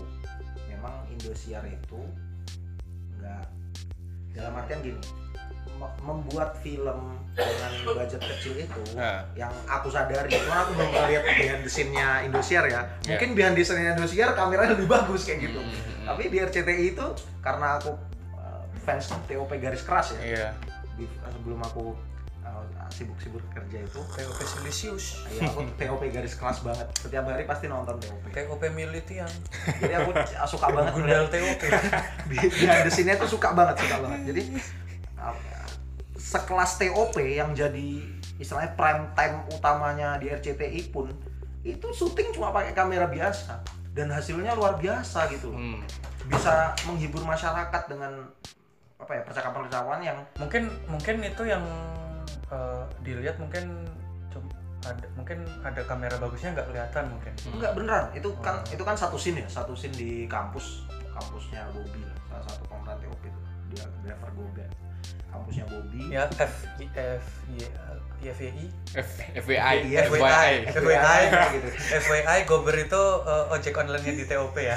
S4: memang Indosiar itu nggak dalam artian gini me- membuat film dengan budget kecil itu
S2: Nah.
S4: yang aku sadari cuman aku belum lihat behind the scene-nya Indosiar ya mungkin behind the scene-nya Indosiar kameranya lebih bagus kayak gitu
S2: Mm,
S4: tapi di RCTI itu karena aku uh, fans TOP garis keras ya
S2: Iya.
S4: di- sebelum aku uh, sibuk-sibuk kerja itu
S1: TOP Silisius
S4: ya aku TOP garis keras banget setiap hari pasti nonton TOP
S1: TOP Militian
S4: jadi aku c- suka banget
S1: Gundal
S4: ngeliat
S1: TOP
S4: di, di ada sini tuh suka banget suka banget jadi apa, ya, sekelas TOP yang jadi istilahnya prime time utamanya di RCTI pun itu syuting cuma pakai kamera biasa dan hasilnya luar biasa gitu loh.
S2: Hmm.
S4: Bisa menghibur masyarakat dengan apa ya percakapan-percakapan yang
S1: mungkin mungkin itu yang eh, dilihat mungkin cum- ada mungkin ada kamera bagusnya nggak kelihatan mungkin
S4: enggak beneran itu kan itu kan satu scene ya satu scene di kampus kampusnya Bobby lah salah satu pemeran TOP itu dia driver goga kampusnya Bobby
S1: ya F I F Y I F Y I
S2: F FYI
S4: Iya,
S2: FYI.
S1: FYI
S4: gitu
S1: FYI Gober itu eh, ojek online-nya di TOP ya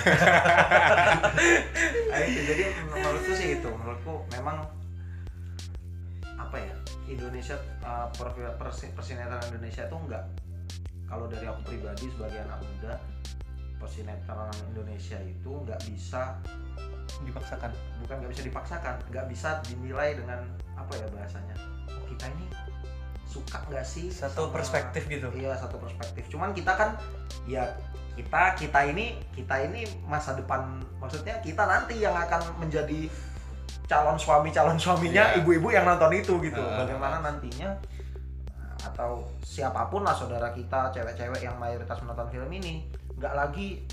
S4: Nah, itu. jadi menurutku sih itu menurutku memang apa ya Indonesia uh, per, persi- persinetron Indonesia itu enggak kalau dari aku pribadi sebagai anak muda persinetron Indonesia itu nggak bisa
S1: dipaksakan
S4: bukan nggak bisa dipaksakan nggak bisa dinilai dengan apa ya bahasanya "Oh, kita ini suka nggak sih
S1: satu
S4: sama-
S1: perspektif gitu
S4: iya satu perspektif cuman kita kan ya kita kita ini kita ini masa depan maksudnya kita nanti yang akan menjadi calon suami calon suaminya
S2: Iya.
S4: ibu-ibu yang nonton itu gitu
S2: Ah.
S4: bagaimana nantinya nah, atau siapapun lah saudara kita cewek-cewek yang mayoritas menonton film ini nggak lagi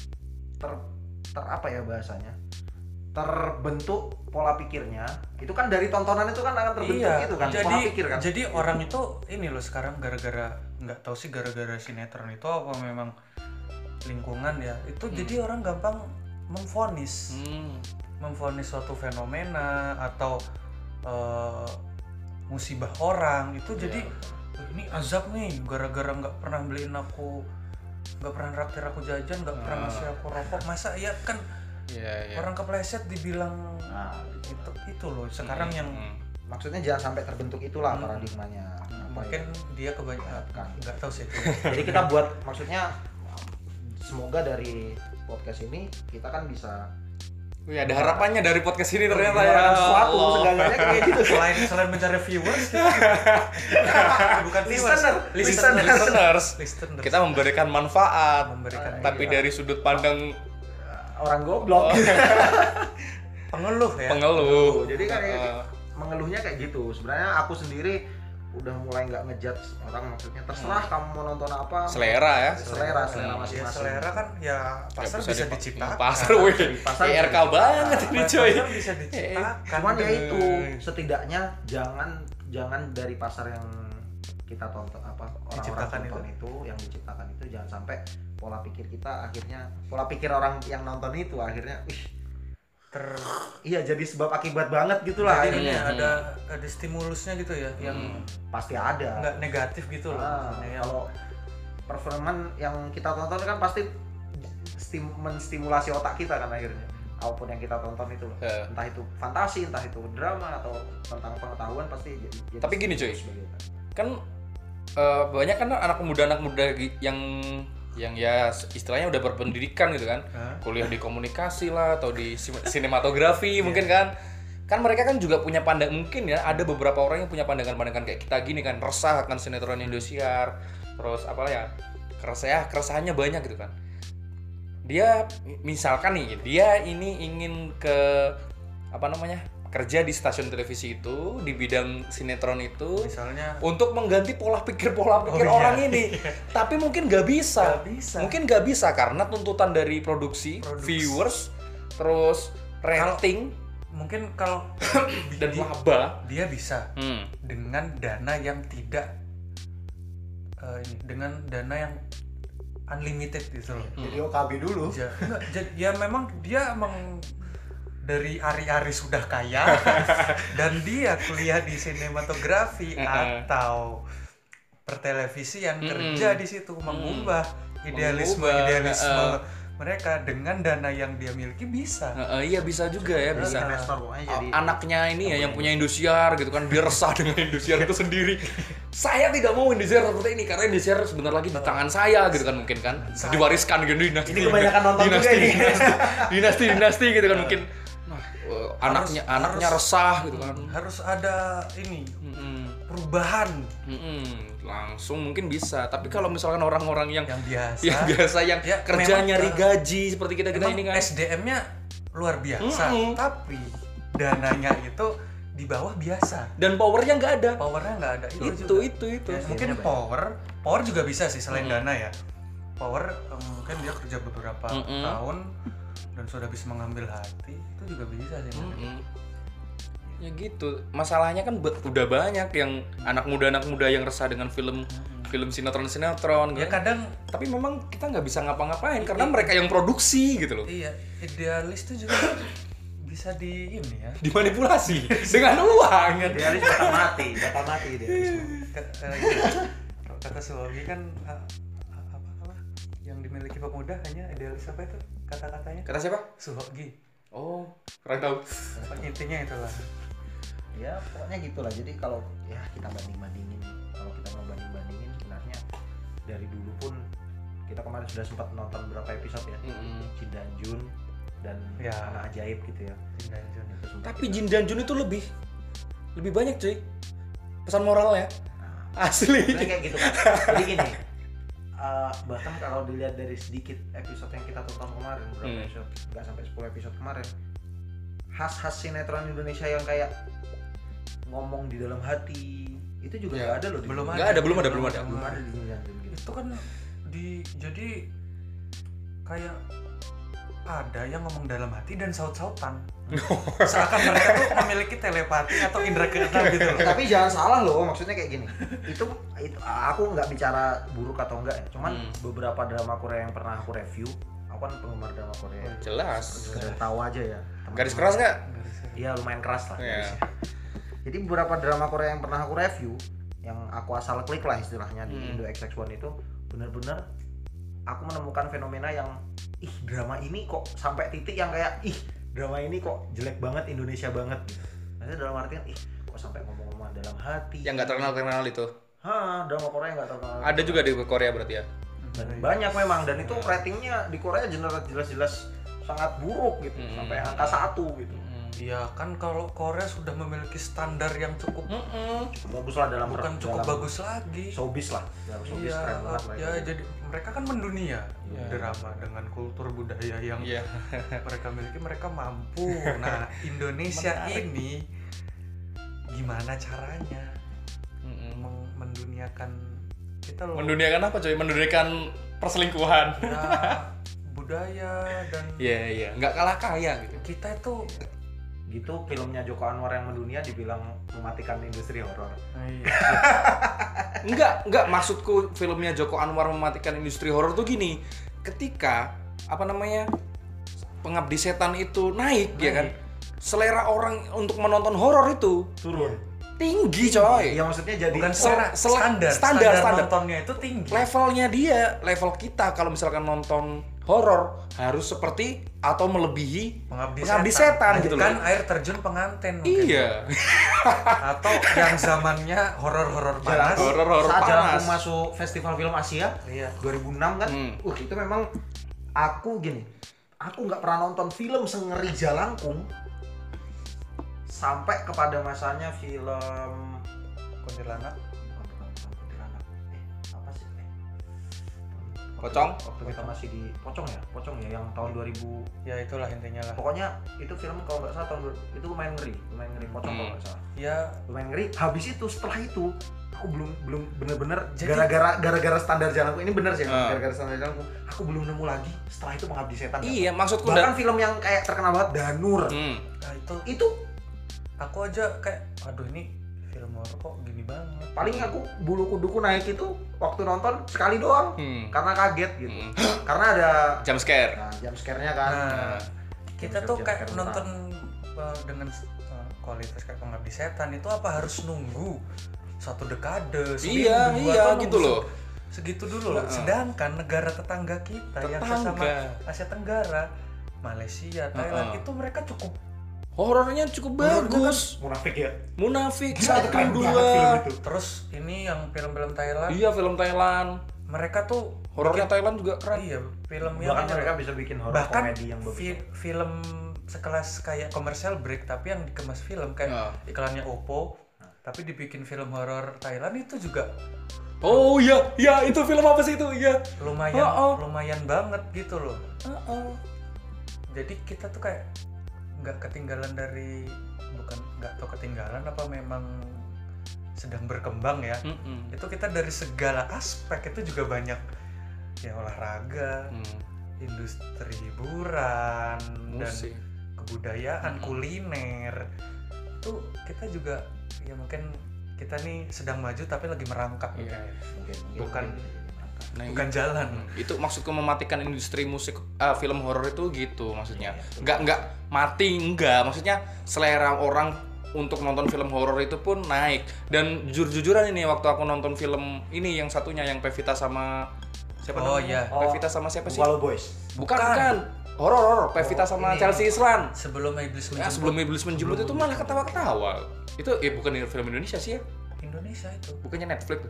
S4: ter ter apa ya bahasanya terbentuk pola pikirnya itu kan dari tontonan itu kan akan terbentuk itu kan
S1: Iya, jadi
S4: pola pikir kan
S1: jadi orang itu ini loh sekarang gara-gara nggak tahu sih gara-gara sinetron itu apa memang lingkungan ya itu
S2: Hmm.
S1: jadi orang gampang memfonis
S2: Hmm.
S1: memfonis suatu fenomena atau eh, musibah orang itu
S4: Iya.
S1: jadi "Wah, ini azab nih gara-gara nggak pernah beliin aku nggak pernah raktir aku jajan nggak pernah
S4: Nah.
S2: Ah.
S1: ngasih aku rokok masa ya kan
S2: Iya, iya.
S1: orang kepleset dibilang
S4: Nah,
S1: itu itu loh sekarang yang
S2: Hmm.
S4: maksudnya jangan sampai terbentuk itulah
S1: Hmm.
S4: paradigmanya Apa ya?
S1: mungkin dia kebanyakan
S4: Kan.
S1: nggak tahu sih
S4: jadi kita buat maksudnya semoga dari podcast ini kita kan bisa
S2: Wih, Iya, ada harapannya dari podcast ini ternyata
S1: Iya,
S2: ya.
S4: menyuarakan sesuatu
S2: Allah.
S4: segalanya kayak gitu
S1: selain selain mencari viewers gitu. bukan viewers
S4: Listener,
S1: listener
S4: listener.
S2: Listeners,
S1: listener
S2: kita memberikan manfaat,
S1: memberikan iya.
S2: tapi
S4: Iya.
S2: dari sudut pandang
S4: Eh,
S2: eh,
S4: orang goblok
S2: Oh.
S1: pengeluh ya
S2: pengeluh.
S4: Jadi kan ya,
S2: Uh,
S4: mengeluhnya kayak gitu sebenarnya aku sendiri udah mulai nggak ngejudge orang maksudnya terserah kamu mau nonton apa
S2: selera ya.
S4: selera selera
S2: Hmm.
S1: ya
S4: masing-masing
S1: selera kan ya pasar
S2: Ya,
S1: bisa,
S2: dipa-
S1: diciptakan
S2: Pasar wih.
S4: Pasar bisa
S2: IRK
S4: diciptakan.
S2: banget ini
S1: pasar
S2: coy.
S1: bisa diciptakan
S4: cuman ya itu
S2: Bener.
S4: setidaknya jangan jangan dari pasar yang kita tonton apa
S1: Diciptakan
S4: orang-orang tonton itu. yang diciptakan itu jangan sampai pola pikir kita akhirnya pola pikir orang yang nonton itu akhirnya "Ih,
S1: ter
S4: iya jadi sebab akibat banget gitu gitulah
S1: jadi
S4: akhirnya
S1: ini ya,
S2: Hmm.
S1: ada ada stimulusnya gitu ya yang
S2: Hmm.
S4: pasti ada
S1: nggak negatif gitu loh
S4: Ah,
S1: maksudnya yang-
S4: kalau performan yang kita tonton kan pasti stim menstimulasi otak kita kan akhirnya apapun yang kita tonton itu loh
S2: Eh,
S4: entah itu fantasi entah itu drama atau tentang pengetahuan pasti jadi, jadi
S2: Tapi gini, cuy.
S4: sebagai-
S2: kan eh, banyak kan anak muda-anak muda gi- yang yang ya istilahnya udah berpendidikan gitu kan.
S1: Hah?
S2: kuliah di komunikasi lah atau di sim- sinematografi
S1: Iya.
S2: mungkin kan kan mereka kan juga punya pandang mungkin ya ada beberapa orang yang punya pandangan-pandangan kayak kita gini kan resah akan sinetron Indosiar terus apa ya keresah keresahannya banyak gitu kan dia misalkan nih dia ini ingin ke apa namanya kerja di stasiun televisi itu di bidang sinetron itu
S1: misalnya
S2: untuk mengganti pola pikir pola pikir
S1: Oh, iya.
S2: orang ini tapi mungkin nggak bisa
S1: nggak bisa
S2: mungkin nggak bisa karena tuntutan dari produksi,
S1: Produksi.
S2: viewers, terus rating
S1: mungkin kalau
S2: dan
S1: di-
S2: laba.
S1: dia bisa
S2: Hmm.
S1: dengan dana yang tidak eh, ini dengan dana yang unlimited gitu loh.
S4: jadi OKB dulu
S2: Oh.
S1: Ja- enggak, ja- ya memang dia emang dari ari-ari sudah kaya dan dia kuliah di sinematografi
S2: Eh, eh.
S1: atau pertelevisian
S2: Mm-mm.
S1: kerja di situ mengubah idealisme
S2: Mengubah,
S1: idealisme
S2: eh,
S1: mereka dengan dana yang dia miliki bisa.
S2: Eh, eh, iya bisa juga ya
S4: Jadi
S2: bisa.
S4: investor pokoknya jadi
S2: Anaknya ini ya yang punya Indosiar gitu kan biar resah dengan Indosiar itu sendiri. Saya tidak mau Indosiar seperti ini karena Indosiar sebentar lagi di tangan saya gitu kan mungkin kan
S1: Saya.
S2: diwariskan gitu dinasti.
S4: Ini kebanyakan nonton juga
S2: dinasti,
S4: ini.
S2: dinasti, dinasti, dinasti gitu kan mungkin. Nah, eh, anaknya
S1: harus-
S2: anaknya resah gitu kan. Hmm.
S1: Harus ada ini
S2: Mm-mm.
S1: perubahan
S2: Mm-mm, langsung mungkin bisa tapi kalau misalkan orang-orang yang
S1: yang biasa.
S2: yang biasa yang
S1: Ya,
S2: kerja
S1: memang,
S2: nyari
S1: uh,
S2: gaji seperti kita kan. kita
S1: Emang
S2: ini kan
S1: SDM-nya luar biasa,
S2: Mm-mm.
S1: tapi dananya itu di bawah biasa
S2: dan powernya nggak ada
S1: powernya nggak ada itu,
S2: itu
S1: juga.
S2: itu itu
S1: Ya, mungkin
S4: banyak.
S1: power power juga bisa sih selain
S2: Hmm.
S1: dana ya power eh, mungkin dia kerja beberapa
S2: Mm-mm.
S1: tahun dan sudah bisa mengambil hati itu juga bisa sih mungkin.
S2: Mm-mm. ya gitu masalahnya kan be- udah banyak yang anak muda anak muda yang resah dengan film
S1: Mm-mm.
S2: film sinetron sinetron
S1: ya kadang
S2: tapi memang kita nggak bisa ngapa-ngapain karena mereka yang produksi gitu loh
S1: iya idealis itu juga bisa di ini ya
S2: dimanipulasi dengan uang
S1: Iya.
S4: Dia harus bakal mati, bakal mati dia.
S1: Ke- eh, gitu. kata Suwogi kan eh, apa apa yang dimiliki pemuda hanya idealis apa itu kata-katanya
S2: kata siapa
S1: Suwogi
S2: oh kurang tahu
S1: Apa intinya itulah
S4: Ya pokoknya gitulah. Jadi kalau ya kita banding bandingin, kalau kita mau banding bandingin sebenarnya dari dulu pun kita kemarin sudah sempat nonton berapa episode ya
S2: Mm-mm.
S4: Jin dan Jun dan
S1: Ya.
S4: anak ajaib gitu ya.
S1: Indah Jun
S4: Itu sempat
S2: tapi
S4: kita-
S2: Jin dan Jun itu lebih lebih banyak cuy pesan moralnya
S4: Nah, Sebenarnya
S2: asli
S4: kayak gitu kan. Jadi gini, eh, bahkan kalau dilihat dari sedikit episode yang kita tonton kemarin, berapa
S2: Hmm.
S4: episode? Nggak sampai 10 episode kemarin. Khas-khas sinetron Indonesia yang kayak ngomong di dalam hati, itu juga
S2: Ya,
S4: nggak ada loh. di
S1: belum
S4: Jin-
S2: nggak ada belum ada belum ada
S4: Belum ada di Jin dan Jun gitu.
S1: itu kan di jadi kayak ada yang ngomong dalam hati dan saut-sautan seakan mereka tuh memiliki telepati atau indra keenam gitu loh
S4: Tapi jangan salah loh, maksudnya kayak gini. Itu itu aku nggak bicara buruk atau enggak ya. Cuman
S2: Hmm.
S4: beberapa drama Korea yang pernah aku review, aku kan penggemar drama Korea.
S2: jelas
S4: Sekedar tahu aja ya.
S2: garis
S4: teman-teman.
S2: keras nggak
S4: Iya lumayan keras lah.
S2: Iya.
S4: garisnya. Jadi beberapa drama Korea yang pernah aku review, yang aku asal klik lah istilahnya di
S2: Hmm.
S4: Indo XX1 itu bener-bener aku menemukan fenomena yang ih drama ini kok sampai titik yang kayak ih drama ini kok jelek banget Indonesia banget gitu. Maksudnya dalam artian ih kok sampai ngomong-ngomong dalam hati.
S2: yang nggak terkenal terkenal itu
S4: Hah, drama Korea yang nggak terkenal.
S2: ada juga di Korea berarti ya
S4: Dan banyak memang dan itu
S2: Iya.
S4: ratingnya di Korea jelas- jelas-jelas sangat buruk gitu
S2: Hmm.
S4: sampai angka satu gitu.
S1: iya kan kalau Korea sudah memiliki standar yang cukup
S2: Mm-mm.
S4: Bagus lah dalam
S1: bukan cukup
S4: dalam-
S1: bagus lagi
S4: showbiz lah dalam Ya, showbiz
S1: iya
S4: keren banget lah
S1: ya
S4: itu.
S1: jadi mereka kan mendunia
S4: Iya.
S1: drama dengan kultur budaya yang
S2: Iya.
S1: mereka miliki mereka mampu nah Indonesia ini gimana caranya
S2: Mm-mm.
S1: meng- menduniakan kita loh
S2: menduniakan apa cuy menduniakan perselingkuhan
S1: ya, budaya dan
S2: Iya iya, nggak kalah kaya gitu.
S1: kita itu
S4: gitu filmnya Joko Anwar yang mendunia dibilang mematikan industri horor
S2: Nah, iya. Enggak, enggak maksudku filmnya Joko Anwar mematikan industri horor tuh gini. Ketika apa namanya? Pengabdi setan itu naik, ya kan? Selera orang untuk menonton horor itu
S4: turun
S2: tinggi, coy.
S4: ya maksudnya jadi
S1: bukan
S2: Sel-
S1: selera
S2: sel-
S1: standar,
S2: standar,
S1: standar
S2: standar.
S1: nontonnya itu tinggi
S2: Levelnya dia, level kita kalau misalkan nonton horor harus seperti atau melebihi
S1: pengabdi,
S2: Pengabdi setan gitu
S1: kan
S2: loh.
S1: air terjun pengantin mungkin.
S2: Iya,
S1: atau yang zamannya horor-horor panas
S2: horor-horor
S4: saat jalan
S2: panas.
S4: aku masuk festival film Asia
S1: iya
S4: 2006 kan
S2: Hmm.
S4: uh itu memang aku gini aku nggak pernah nonton film sengeri jalangkung sampai kepada masanya film
S1: kuntilanak
S4: bukan bukan bukan kuntilanak eh apa sih eh Waktu-
S2: Pocong?
S4: waktu kita masih di pocong ya pocong ya yang tahun 2000
S1: ya itulah intinya lah
S4: pokoknya itu film kalau nggak salah tahun ber- itu lumayan ngeri lumayan ngeri pocong kalau nggak salah
S1: ya
S4: lumayan ngeri habis itu setelah itu aku belum belum bener-bener
S1: Jadi-
S4: gara-gara gara-gara standar jalanku ini bener sih
S2: Ah.
S4: gara-gara standar jalanku aku belum nemu lagi setelah itu mengabdi setan
S2: Iya, maksudku
S4: bahkan film yang kayak terkenal banget Danur
S2: Hmm.
S1: nah itu
S4: itu
S1: aku aja kayak aduh ini film horor kok gini banget
S4: paling aku bulu kuduku naik itu waktu nonton sekali doang
S2: Hmm.
S4: karena kaget gitu
S2: Hmm.
S4: karena ada
S2: Jump scare.
S4: nah, jam
S2: Iya.
S4: scare-nya kan
S1: Iya. nah kita tuh
S4: Jam-jam
S1: kayak
S4: sekarang.
S1: nonton uh, dengan uh, kualitas kayak pengabdi setan itu apa harus nunggu satu dekade seminggu,
S2: Iya,
S1: atau
S2: iya,
S1: nunggu
S2: gitu
S1: se-
S2: loh.
S1: segitu dulu loh
S2: Heeh.
S1: sedangkan negara tetangga kita yang sesama
S2: Tetangga.
S1: Asia Tenggara Malaysia Thailand
S2: Heeh.
S1: itu mereka cukup
S2: Horornya cukup
S1: Menurut gua
S2: bagus.
S4: munafik ya
S2: Munafik
S4: Gila, itu
S2: satu
S4: keren banget film
S2: dua.
S4: itu
S1: terus ini yang film-film Thailand
S2: Iya film Thailand.
S1: mereka tuh
S2: Horornya Thailand juga
S1: bikin-
S2: keren.
S1: iya film yang
S4: bahkan mereka bisa bikin horor
S1: bahkan
S4: komedi yang bagus ya.
S1: fi- film sekelas kayak komersial break tapi yang dikemas film kayak
S2: Nah.
S1: iklannya Oppo tapi dibikin film horor Thailand itu juga
S2: Oh iya, iya itu film apa sih itu? Iya.
S1: lumayan
S2: Oh, oh.
S1: lumayan banget gitu loh
S2: Heeh.
S1: jadi kita tuh kayak nggak ketinggalan dari bukan nggak tahu ketinggalan apa memang sedang berkembang ya
S2: Mm-mm.
S1: itu kita dari segala aspek itu juga banyak ya olahraga
S2: Hmm,
S1: industri hiburan dan
S2: musik
S1: kebudayaan
S2: Mm-mm.
S1: kuliner itu kita juga ya mungkin kita nih sedang maju tapi lagi merangkak
S2: Iya.
S4: mungkin mungkin
S1: Bukan-
S2: Nah,
S1: bukan jalan
S2: Hmm, itu maksudku mematikan industri musik eh, film horor itu gitu maksudnya nggak nggak mati nggak maksudnya selera orang untuk nonton film horor itu pun naik dan jujur jujuran ini waktu aku nonton film ini yang satunya yang Pevita sama siapa
S1: Oh,
S2: namanya?
S1: iya.
S2: Pevita sama siapa sih
S3: Walau boys.
S2: bukan
S1: Bukan.
S2: bukan horor horor Pevita
S1: Oh,
S2: sama
S1: ini.
S2: Chelsea Islan
S1: sebelum iblis
S2: ya,
S1: menjemput
S2: sebelum iblis menjemput itu malah ketawa ketawa itu ya bukan film Indonesia sih ya
S1: Indonesia itu
S2: bukannya Netflix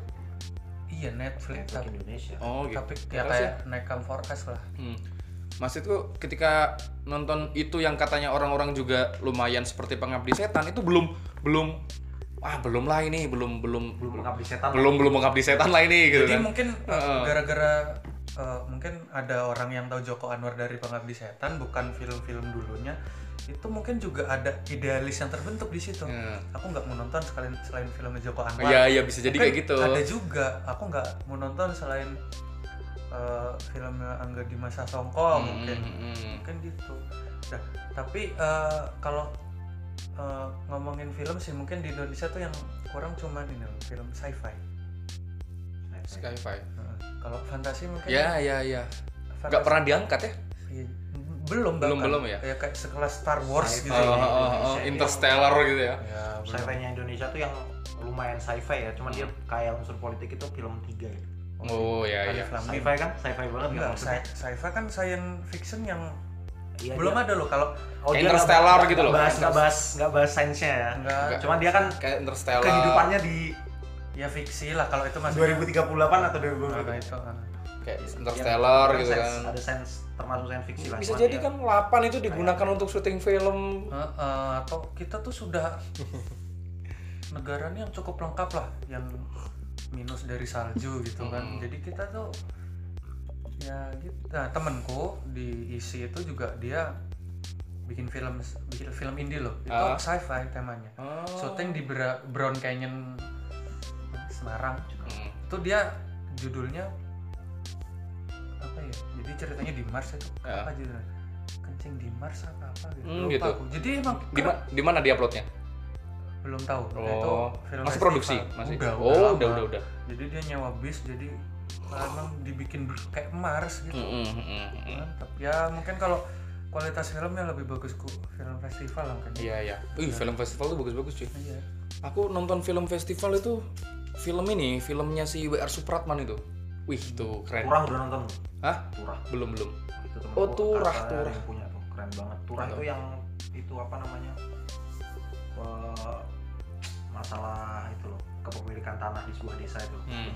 S1: iya Netflix,
S4: Network
S1: tapi,
S4: Indonesia
S2: oh gitu
S1: tapi ya
S2: Terus
S1: kayak Nekam Forecast lah
S2: Hmm. Maksudku ketika nonton itu yang katanya orang-orang juga lumayan seperti pengabdi setan itu belum belum ah belum lah ini belum belum
S4: belum mengabdi setan
S2: belum belum mengabdi setan lah ini gitu
S1: Jadi
S2: kan.
S1: mungkin uh,
S2: Heeh.
S1: gara-gara uh, mungkin ada orang yang tahu Joko Anwar dari Pengabdi Setan bukan film-film dulunya itu mungkin juga ada idealis yang terbentuk di situ.
S2: Hmm.
S1: Aku nggak mau nonton sekalian selain film Joko Anwar.
S2: Ya ya bisa jadi
S1: Mungkin
S2: kayak gitu.
S1: Kan Ada juga. Aku nggak mau nonton selain uh, filmnya Angga Dimas Sasongko
S2: Hmm,
S1: mungkin
S2: hmm, hmm.
S1: mungkin gitu. Nah, tapi uh, kalau uh, ngomongin film sih mungkin di Indonesia tuh yang kurang cuman ini loh, film sci-fi.
S2: Skyfi.
S1: Heeh. Kalau fantasi mungkin
S2: Ya ya ya.
S1: fantasi-
S2: Gak pernah diangkat ya.
S1: Iya, belum
S2: Belum,
S1: bahkan.
S2: belum ya?
S1: Kayak kayak sekelas Star Wars gitu.
S2: Oh, oh, oh, oh,
S4: Indonesia.
S2: Interstellar gitu ya.
S1: Ya, belum.
S4: sci-fi nya Indonesia tuh yang lumayan sci-fi ya cuman
S2: Hmm.
S4: dia kayak unsur politik itu film tiga ya
S2: Oh ya ya.
S1: Alif Lam Mim.
S4: sci-fi kan sci-fi banget
S2: Iya,
S4: nggak
S1: Enggak, Ya,
S4: maksudnya
S1: sci- sci-fi kan science fiction yang
S4: Iya,
S1: belum
S4: dia-
S1: ada loh kalau
S4: oh, dia
S2: Interstellar
S4: nggak-
S2: gitu loh.
S4: nggak bahas nggak bahas nggak bahas sainsnya ya
S1: enggak
S4: cuman dia kan
S2: Kayak Interstellar.
S4: kehidupannya di
S1: ya fiksi lah kalau itu masih
S4: 2038 atau
S1: Nah,
S4: 2020
S1: itu. ah.
S2: kayak Interstellar
S4: Dia-
S2: gitu
S4: Iya. ada
S2: kan.
S4: sains- ada ya. sains termasuk sains fiksi lah
S2: Bisa
S4: cuman
S2: jadi
S4: dia-
S2: kan 8 itu digunakan untuk syuting film
S1: Eh, eh, atau kita tuh sudah negara ini yang cukup lengkap lah yang minus dari salju gitu kan
S2: Hmm.
S1: jadi kita tuh ya gitu nah temenku di isi itu juga dia bikin film bikin film indie loh itu
S2: Ah.
S1: sci-fi temanya
S2: Oh.
S1: syuting di Bra- Brown Canyon Semarang
S2: Hmm.
S1: itu dia judulnya apa ya jadi ceritanya di Mars itu
S2: Ya.
S1: apa judulnya kencing di Mars apa apa gitu,
S2: Hmm,
S1: Lupa
S2: gitu.
S1: aku. jadi emang
S2: Di, ma- di mana dia uploadnya?
S1: belum tahu Nah,
S2: Oh,
S1: film
S2: masih
S1: festival.
S2: produksi, masih.
S1: udah,
S2: oh,
S1: udah,
S2: udah,
S1: lama.
S2: udah, udah.
S1: jadi dia nyewa bis jadi emang dibikin ber- kayak Mars gitu
S2: Mm-mm, mm-mm, mm-mm.
S1: mantap ya mungkin kalau kualitas filmnya lebih bagus ku film festival lah mungkin
S2: Iya, iya. Wih, film festival tuh bagus-bagus cuy.
S1: iya
S2: Aku nonton film festival itu film ini, filmnya si WR Supratman itu. Wih, itu keren.
S4: Turah udah nonton
S2: Hah?
S4: Turah
S2: Belum, belum.
S4: itu temen
S2: Oh,
S4: gua,
S2: Turah,
S4: kakak
S2: Turah. Iya.
S4: yang punya tuh keren banget Turah itu yang itu apa namanya eh, masalah itu loh kepemilikan tanah di sebuah desa itu
S2: Hmm.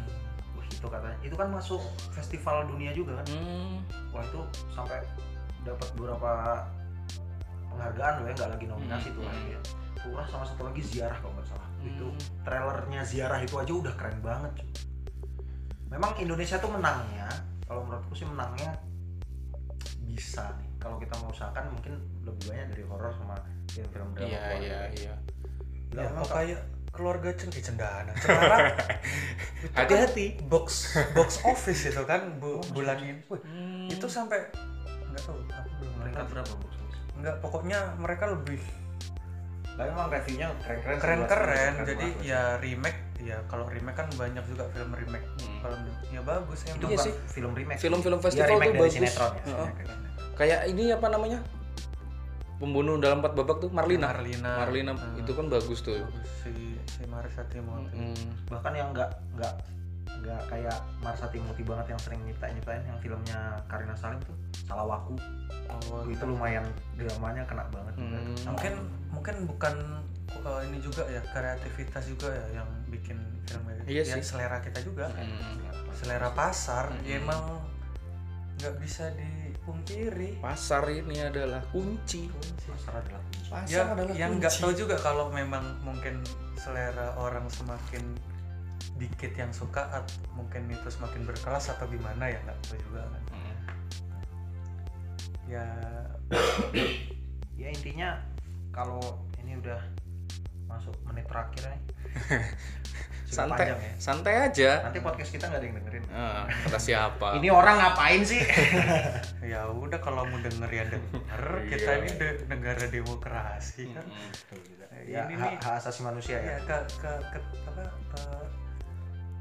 S4: Wih, itu katanya itu kan masuk festival dunia juga kan
S2: Hmm.
S4: wah itu sampai dapat beberapa penghargaan loh ya nggak lagi nominasi
S2: Hmm,
S4: tuh
S2: hmm.
S4: ya Turah sama satu lagi ziarah kalau nggak salah itu
S2: Hmm.
S4: trailernya ziarah itu aja udah keren banget cuy. memang Indonesia tuh menangnya kalau menurutku sih menangnya bisa nih kalau kita mau usahakan mungkin lebih banyak dari horor sama film-film drama
S2: Iya,
S4: horor.
S2: iya, iya.
S4: Lah,
S1: ya,
S4: emang
S1: kok kayak keluarga cen eh, cendana cendana Itu kan
S2: Hati-hati.
S1: box box office itu kan bu, bulan ini Wih,
S2: Hmm.
S1: itu sampai nggak tahu aku belum
S4: peringkat
S1: nonton.
S4: berapa box office?
S1: nggak pokoknya mereka lebih
S4: Tapi emang reviewnya keren-keren iya. sih,
S1: keren
S4: luas-luas,
S1: keren jadi
S2: Iya
S4: luas-luas.
S1: ya remake ya kalau remake kan banyak juga film remake
S2: Hmm.
S1: kalau menurut- ya bagus yang
S2: Iya
S4: itu bukan
S2: sih.
S4: film remake
S2: Film-film
S4: Dia
S2: festival
S4: remake
S2: tuh
S4: dari
S2: bagus.
S4: sinetron ya
S2: Heeh.
S4: sinetron.
S2: Kayak ini apa namanya? Pembunuh dalam empat babak tuh Marlina.
S1: Marlina
S2: Marlina
S1: Hmm.
S2: itu kan bagus tuh.
S1: Bagus. si si Marisati mau
S2: Hmm.
S4: bahkan yang nggak nggak nggak kayak Marsa Timothy banget yang sering nyiptain nyiptain yang filmnya Karina Salim tuh Salawaku
S1: awal
S4: itu lumayan dramanya kena banget juga.
S2: Hmm.
S4: Sama-
S1: mungkin mungkin bukan uh, ini juga ya kreativitas juga ya yang bikin film
S2: Iya
S1: ya,
S2: sih.
S1: selera kita juga
S2: Hmm.
S1: selera pasar
S2: Mm-mm.
S1: ya emang nggak bisa dipungkiri
S2: Pasar ini adalah kunci.
S4: Pasar adalah kunci.
S2: Pasar
S1: ya
S2: adalah
S1: yang nggak
S2: kunci.
S1: tahu juga kalau memang mungkin selera orang semakin dikit yang suka at- mungkin itu semakin berkelas atau gimana ya nggak tahu juga kan
S2: Hmm.
S1: ya
S4: ya intinya kalau ini udah masuk menit terakhir nih sudah
S2: santai
S4: panjang ya
S2: santai aja
S4: nanti podcast kita nggak ada yang dengerin
S2: Eh, kata siapa
S4: ini orang ngapain sih
S1: ya udah kalau mau denger ya denger kita
S2: Iya.
S1: ini de- negara demokrasi kan
S2: Mm-mm.
S4: gitu.
S1: Ya,
S4: ini
S1: ini
S4: hak,
S1: nih.
S4: hak asasi
S2: Hmm.
S4: manusia
S1: ya
S4: ya
S1: ke ke, ke- apa ke-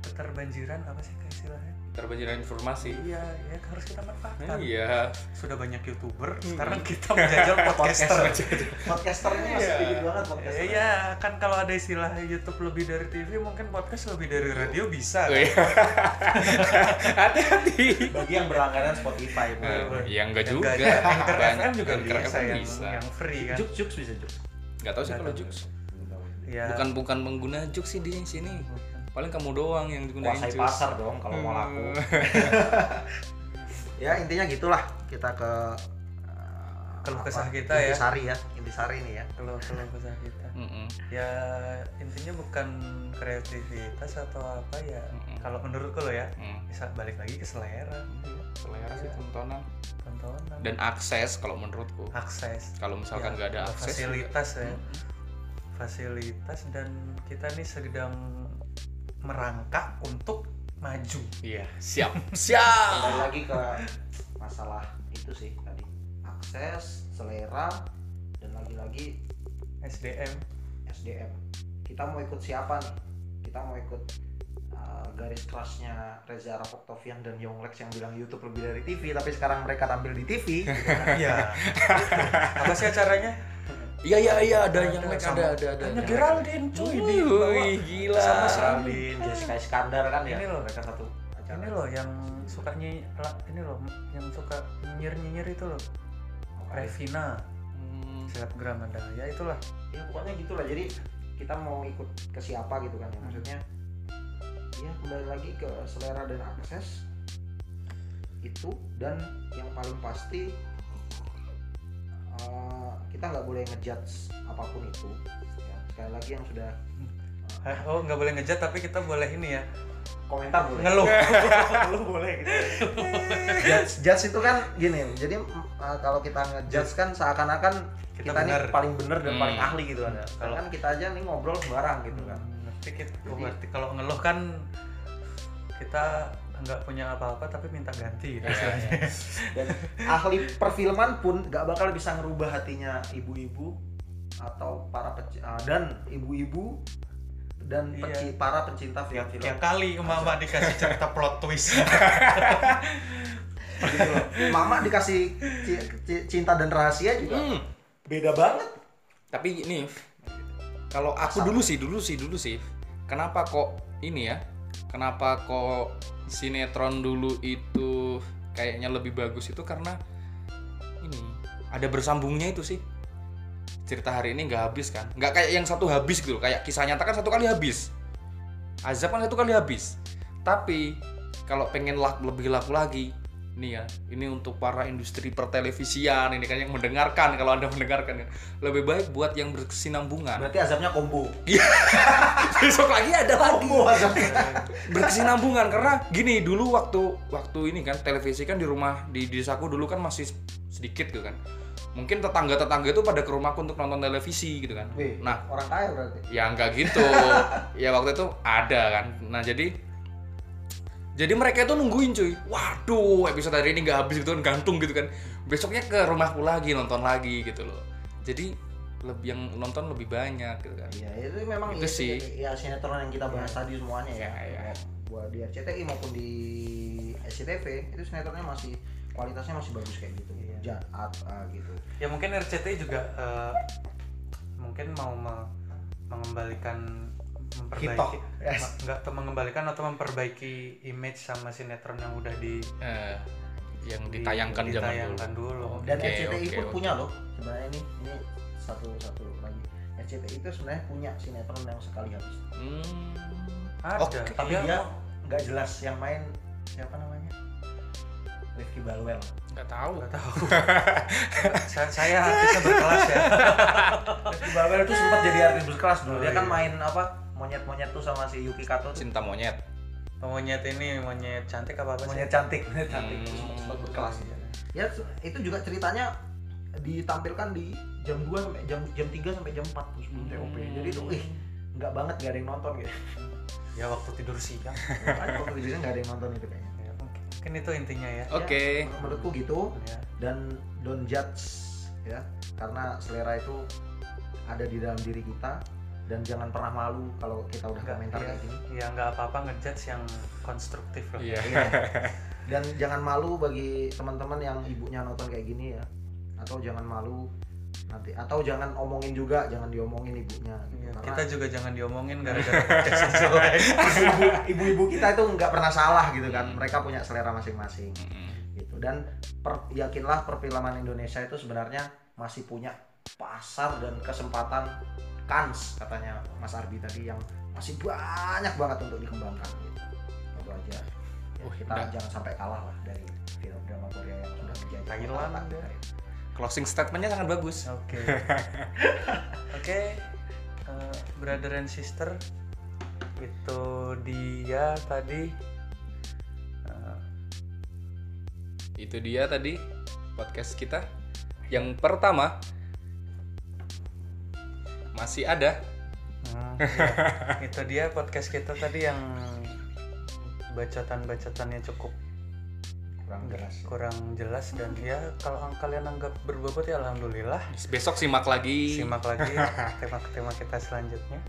S1: keterbanjiran apa sih ke istilahnya
S2: terbanjiran informasi
S1: iya ya harus kita manfaatkan
S2: iya Hmm.
S1: sudah banyak youtuber sekarang kita menjajal podcaster
S4: podcaster ini masih
S2: Iya.
S4: dikit banget podcaster
S1: Iya, kan kalau ada istilah YouTube lebih dari TV, mungkin podcast lebih dari radio bisa.
S2: Oh,
S1: Kan?
S2: iya. hati-hati
S4: bagi yang berlangganan Spotify Bu.
S1: Kan.
S2: Eh, ya enggak
S1: Yang
S2: juga
S1: nggak ada Anchor
S2: Banyak-
S1: FM Kan. juga
S2: Anchor
S1: bisa,
S2: FM
S1: yang,
S2: bisa.
S1: yang free kan.
S4: Jux Jux bisa Jux
S2: nggak tahu sih
S1: Nggak
S2: kalau
S1: tahu.
S2: Jux
S1: Ya.
S2: bukan bukan pengguna Jux sih di sini paling kamu doang yang digunain
S4: kuasai
S2: Jux.
S4: pasar dong kalau mau laku
S1: Hmm.
S3: ya intinya gitulah kita ke eh,
S1: Keluh
S3: apa,
S1: kesah kita ya.
S3: intisari ya intisari ini ya
S1: Kalau kalau bahasa kita.
S2: Mm-mm.
S1: Ya intinya bukan kreativitas atau apa ya.
S2: Mm-mm.
S1: Kalau menurutku lo ya,
S2: Mm.
S1: bisa balik lagi ke selera,
S2: selera sih tontonan
S1: tontonan,
S2: dan akses kalau menurutku
S1: akses.
S2: kalau
S1: Ya,
S2: misalkan nggak ada akses
S1: fasilitas
S2: juga- Hmm.
S1: ya. Fasilitas dan kita nih sedang merangkak untuk maju.
S2: iya siap siap
S4: kembali lagi ke masalah itu sih tadi akses selera dan lagi-lagi
S1: SDM
S4: SDM kita mau ikut siapa nih kita mau ikut uh, garis kerasnya Reza Rapoktovian dan Yonglex yang bilang YouTube lebih dari TV tapi sekarang mereka tampil di TV gitu kan.
S1: Iya. apa sih acaranya?
S2: iya iya iya ada
S1: Ada,
S2: yang like
S1: sama-
S2: ada ada ada
S1: Tanya
S2: ada.
S1: Geraldine cuy di
S2: Wih,
S1: bawah.
S2: gila
S1: Sama
S4: Sarah
S1: Sarah
S4: Bin, Jessica Iskandar kan ya
S1: Ini loh.
S4: mereka satu acara
S1: Ini loh yang suka nyi, la- ini loh yang suka nyinyir-nyinyir itu loh. ya? Revina,
S2: Hmm,
S1: selebgram ada. Ya itulah.
S4: ya pokoknya gitulah jadi kita mau ikut ke siapa gitu kan ya maksudnya ya kembali lagi ke selera dan akses itu dan yang paling pasti eh, kita nggak boleh ngejudge apapun itu ya. sekali lagi yang sudah Hmm.
S1: Eh, Oh nggak boleh ngejat tapi kita boleh ini ya
S4: komentar boleh
S1: ngeluh. Ya,
S4: lu boleh gitu
S3: judge, judge itu kan gini jadi eh, kalau kita ngejudge kan seakan-akan
S1: Kita
S3: kita,
S1: bener.
S3: nih paling bener dan
S2: Hmm.
S3: paling ahli gitu kan ya.
S4: Kalau- kan kita aja nih ngobrol sembarang gitu kan
S1: Berarti kita- oh, berarti kalau ngeluh kan kita nggak punya apa-apa tapi minta ganti. gitu.
S2: iya.
S4: dan ahli perfilman pun nggak bakal bisa ngerubah hatinya ibu-ibu atau para peci- ah, dan ibu-ibu dan
S1: Iya.
S4: peci- para pencinta film-film
S1: Tiap
S2: Iya,
S1: kali mama dikasih cerita plot twist.
S4: gitu loh.
S3: mama dikasih ci- ci- cinta dan rahasia juga
S2: Hmm,
S4: beda banget
S2: tapi ini kalau aku dulu sih dulu sih dulu sih kenapa kok ini ya kenapa kok sinetron dulu itu kayaknya lebih bagus itu karena ini ada bersambungnya itu sih cerita hari ini nggak habis kan nggak kayak yang satu habis gitu loh. kayak kisah nyata kan satu kali habis azab kan satu kali habis tapi kalau pengen lak- lebih laku lagi ini ya ini untuk para industri pertelevisian ini kan yang mendengarkan kalau anda mendengarkan ya. lebih baik buat yang berkesinambungan
S4: berarti azabnya combo
S2: besok lagi ada lagi
S4: combo azabnya
S2: berkesinambungan karena gini dulu waktu waktu ini kan televisi kan di rumah di desaku dulu kan masih sedikit gitu kan mungkin tetangga tetangga itu pada ke rumahku untuk nonton televisi gitu kan
S4: Wih.
S2: nah
S4: orang kaya berarti
S2: ya nggak gitu ya waktu itu ada kan nah jadi jadi mereka itu nungguin cuy waduh episode hari ini nggak habis gitu kan gantung gitu kan besoknya ke rumahku lagi nonton lagi gitu loh jadi lebih yang nonton lebih banyak gitu kan
S4: ya itu memang
S2: Itu sih. Iya.
S4: ya sinetron yang kita bahas tadi semuanya ya,
S2: Ya, ya.
S4: buat di RCTI maupun di SCTV itu sinetronnya masih kualitasnya masih bagus kayak gitu
S1: Iya.
S4: jahat ah, gitu
S1: ya mungkin RCTI juga eh, mungkin mau me- mengembalikan memperbaiki
S4: Yes.
S1: ma- nggak atau mengembalikan atau memperbaiki image sama sinetron yang udah di
S2: Eh, yang ditayangkan zaman dulu
S1: ditayangkan dulu. Oh,
S4: dan
S2: Oke,
S4: RCTI
S2: oke,
S4: pun
S2: oke.
S4: punya loh sebenarnya ini ini satu satu lagi RCTI itu sebenarnya punya sinetron yang sekali habis
S2: Hmm.
S1: ada
S2: Oke.
S1: tapi
S4: tapi
S1: ya,
S2: oh.
S4: dia nggak jelas yang main siapa namanya Rifki Balwell
S2: nggak tahu
S1: nggak tahu saya, saya artisnya berkelas ya
S4: Rifki Balwell itu sempat jadi artis berkelas dulu
S1: Oh,
S4: dia kan
S1: iya.
S4: main apa monyet-monyet tuh sama si Yuki Kato tuh.
S2: cinta monyet
S1: monyet ini monyet cantik apa apa sih
S4: monyet cantik monyet cantik
S2: Hmm.
S4: Terus sempat berkelas
S1: kelas
S4: ya itu juga ceritanya ditampilkan di jam 2 sampai jam jam 3 sampai jam 4 terus belum TOP.
S2: Hmm.
S4: Jadi itu ih nggak banget gak ada yang nonton gitu.
S1: ya waktu tidur siang
S4: Makanya waktu itu nggak ada yang nonton itu kayaknya.
S1: Ya, mungkin, mungkin itu intinya ya,
S2: Oke.
S4: Ya, menurutku gitu
S1: ya.
S4: dan don't judge ya karena selera itu ada di dalam diri kita dan jangan pernah malu kalau kita udah
S1: Nggak,
S4: komentar
S1: iya.
S4: kayak gini.
S1: ya nggak apa-apa ngejudge yang konstruktif loh
S2: Iya.
S4: Iya. Dan jangan malu bagi teman-teman yang ibunya nonton kayak gini ya. Atau jangan malu nanti atau jangan omongin juga, jangan diomongin ibunya gitu.
S1: Iya,
S4: Karena
S1: kita juga jangan diomongin gara-gara podcast jelek.
S4: ibu- ibu-ibu kita itu nggak pernah salah gitu
S1: Iya.
S4: kan.
S2: Hmm.
S4: Mereka punya selera masing-masing
S2: Mm-mm.
S4: gitu. Dan per- yakinlah perfilman Indonesia itu sebenarnya masih punya pasar dan kesempatan kans katanya Mas Ardi tadi yang masih banyak banget untuk dikembangkan gitu. Itu aja. Ya,
S1: Oh,
S2: Wih,
S4: kita
S2: udah.
S4: jangan sampai kalah lah dari film drama Korea yang sudah menjadi
S1: Thailand,
S4: otak-atik
S1: ya.
S4: kita.
S2: Closing statementnya sangat bagus.
S1: Oke. Oke. eh, brother and sister itu dia tadi eh,
S2: Itu dia tadi podcast kita yang pertama masih ada.
S1: hmm, iya. itu dia podcast kita tadi yang bacotan-bacotannya cukup
S4: kurang jelas.
S1: kurang jelas dan ya kalau kalian anggap berbobot ya alhamdulillah
S2: Besok simak lagi.
S1: simak lagi tema-tema kita selanjutnya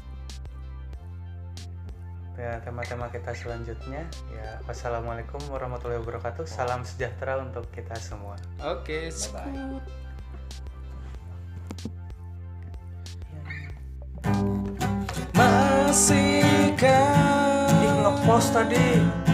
S1: ya tema-tema kita selanjutnya ya wassalamualaikum warahmatullahi wabarakatuh salam sejahtera untuk kita semua
S2: Oke.
S4: Bye-bye.
S2: Masih
S1: ih ngepost tadi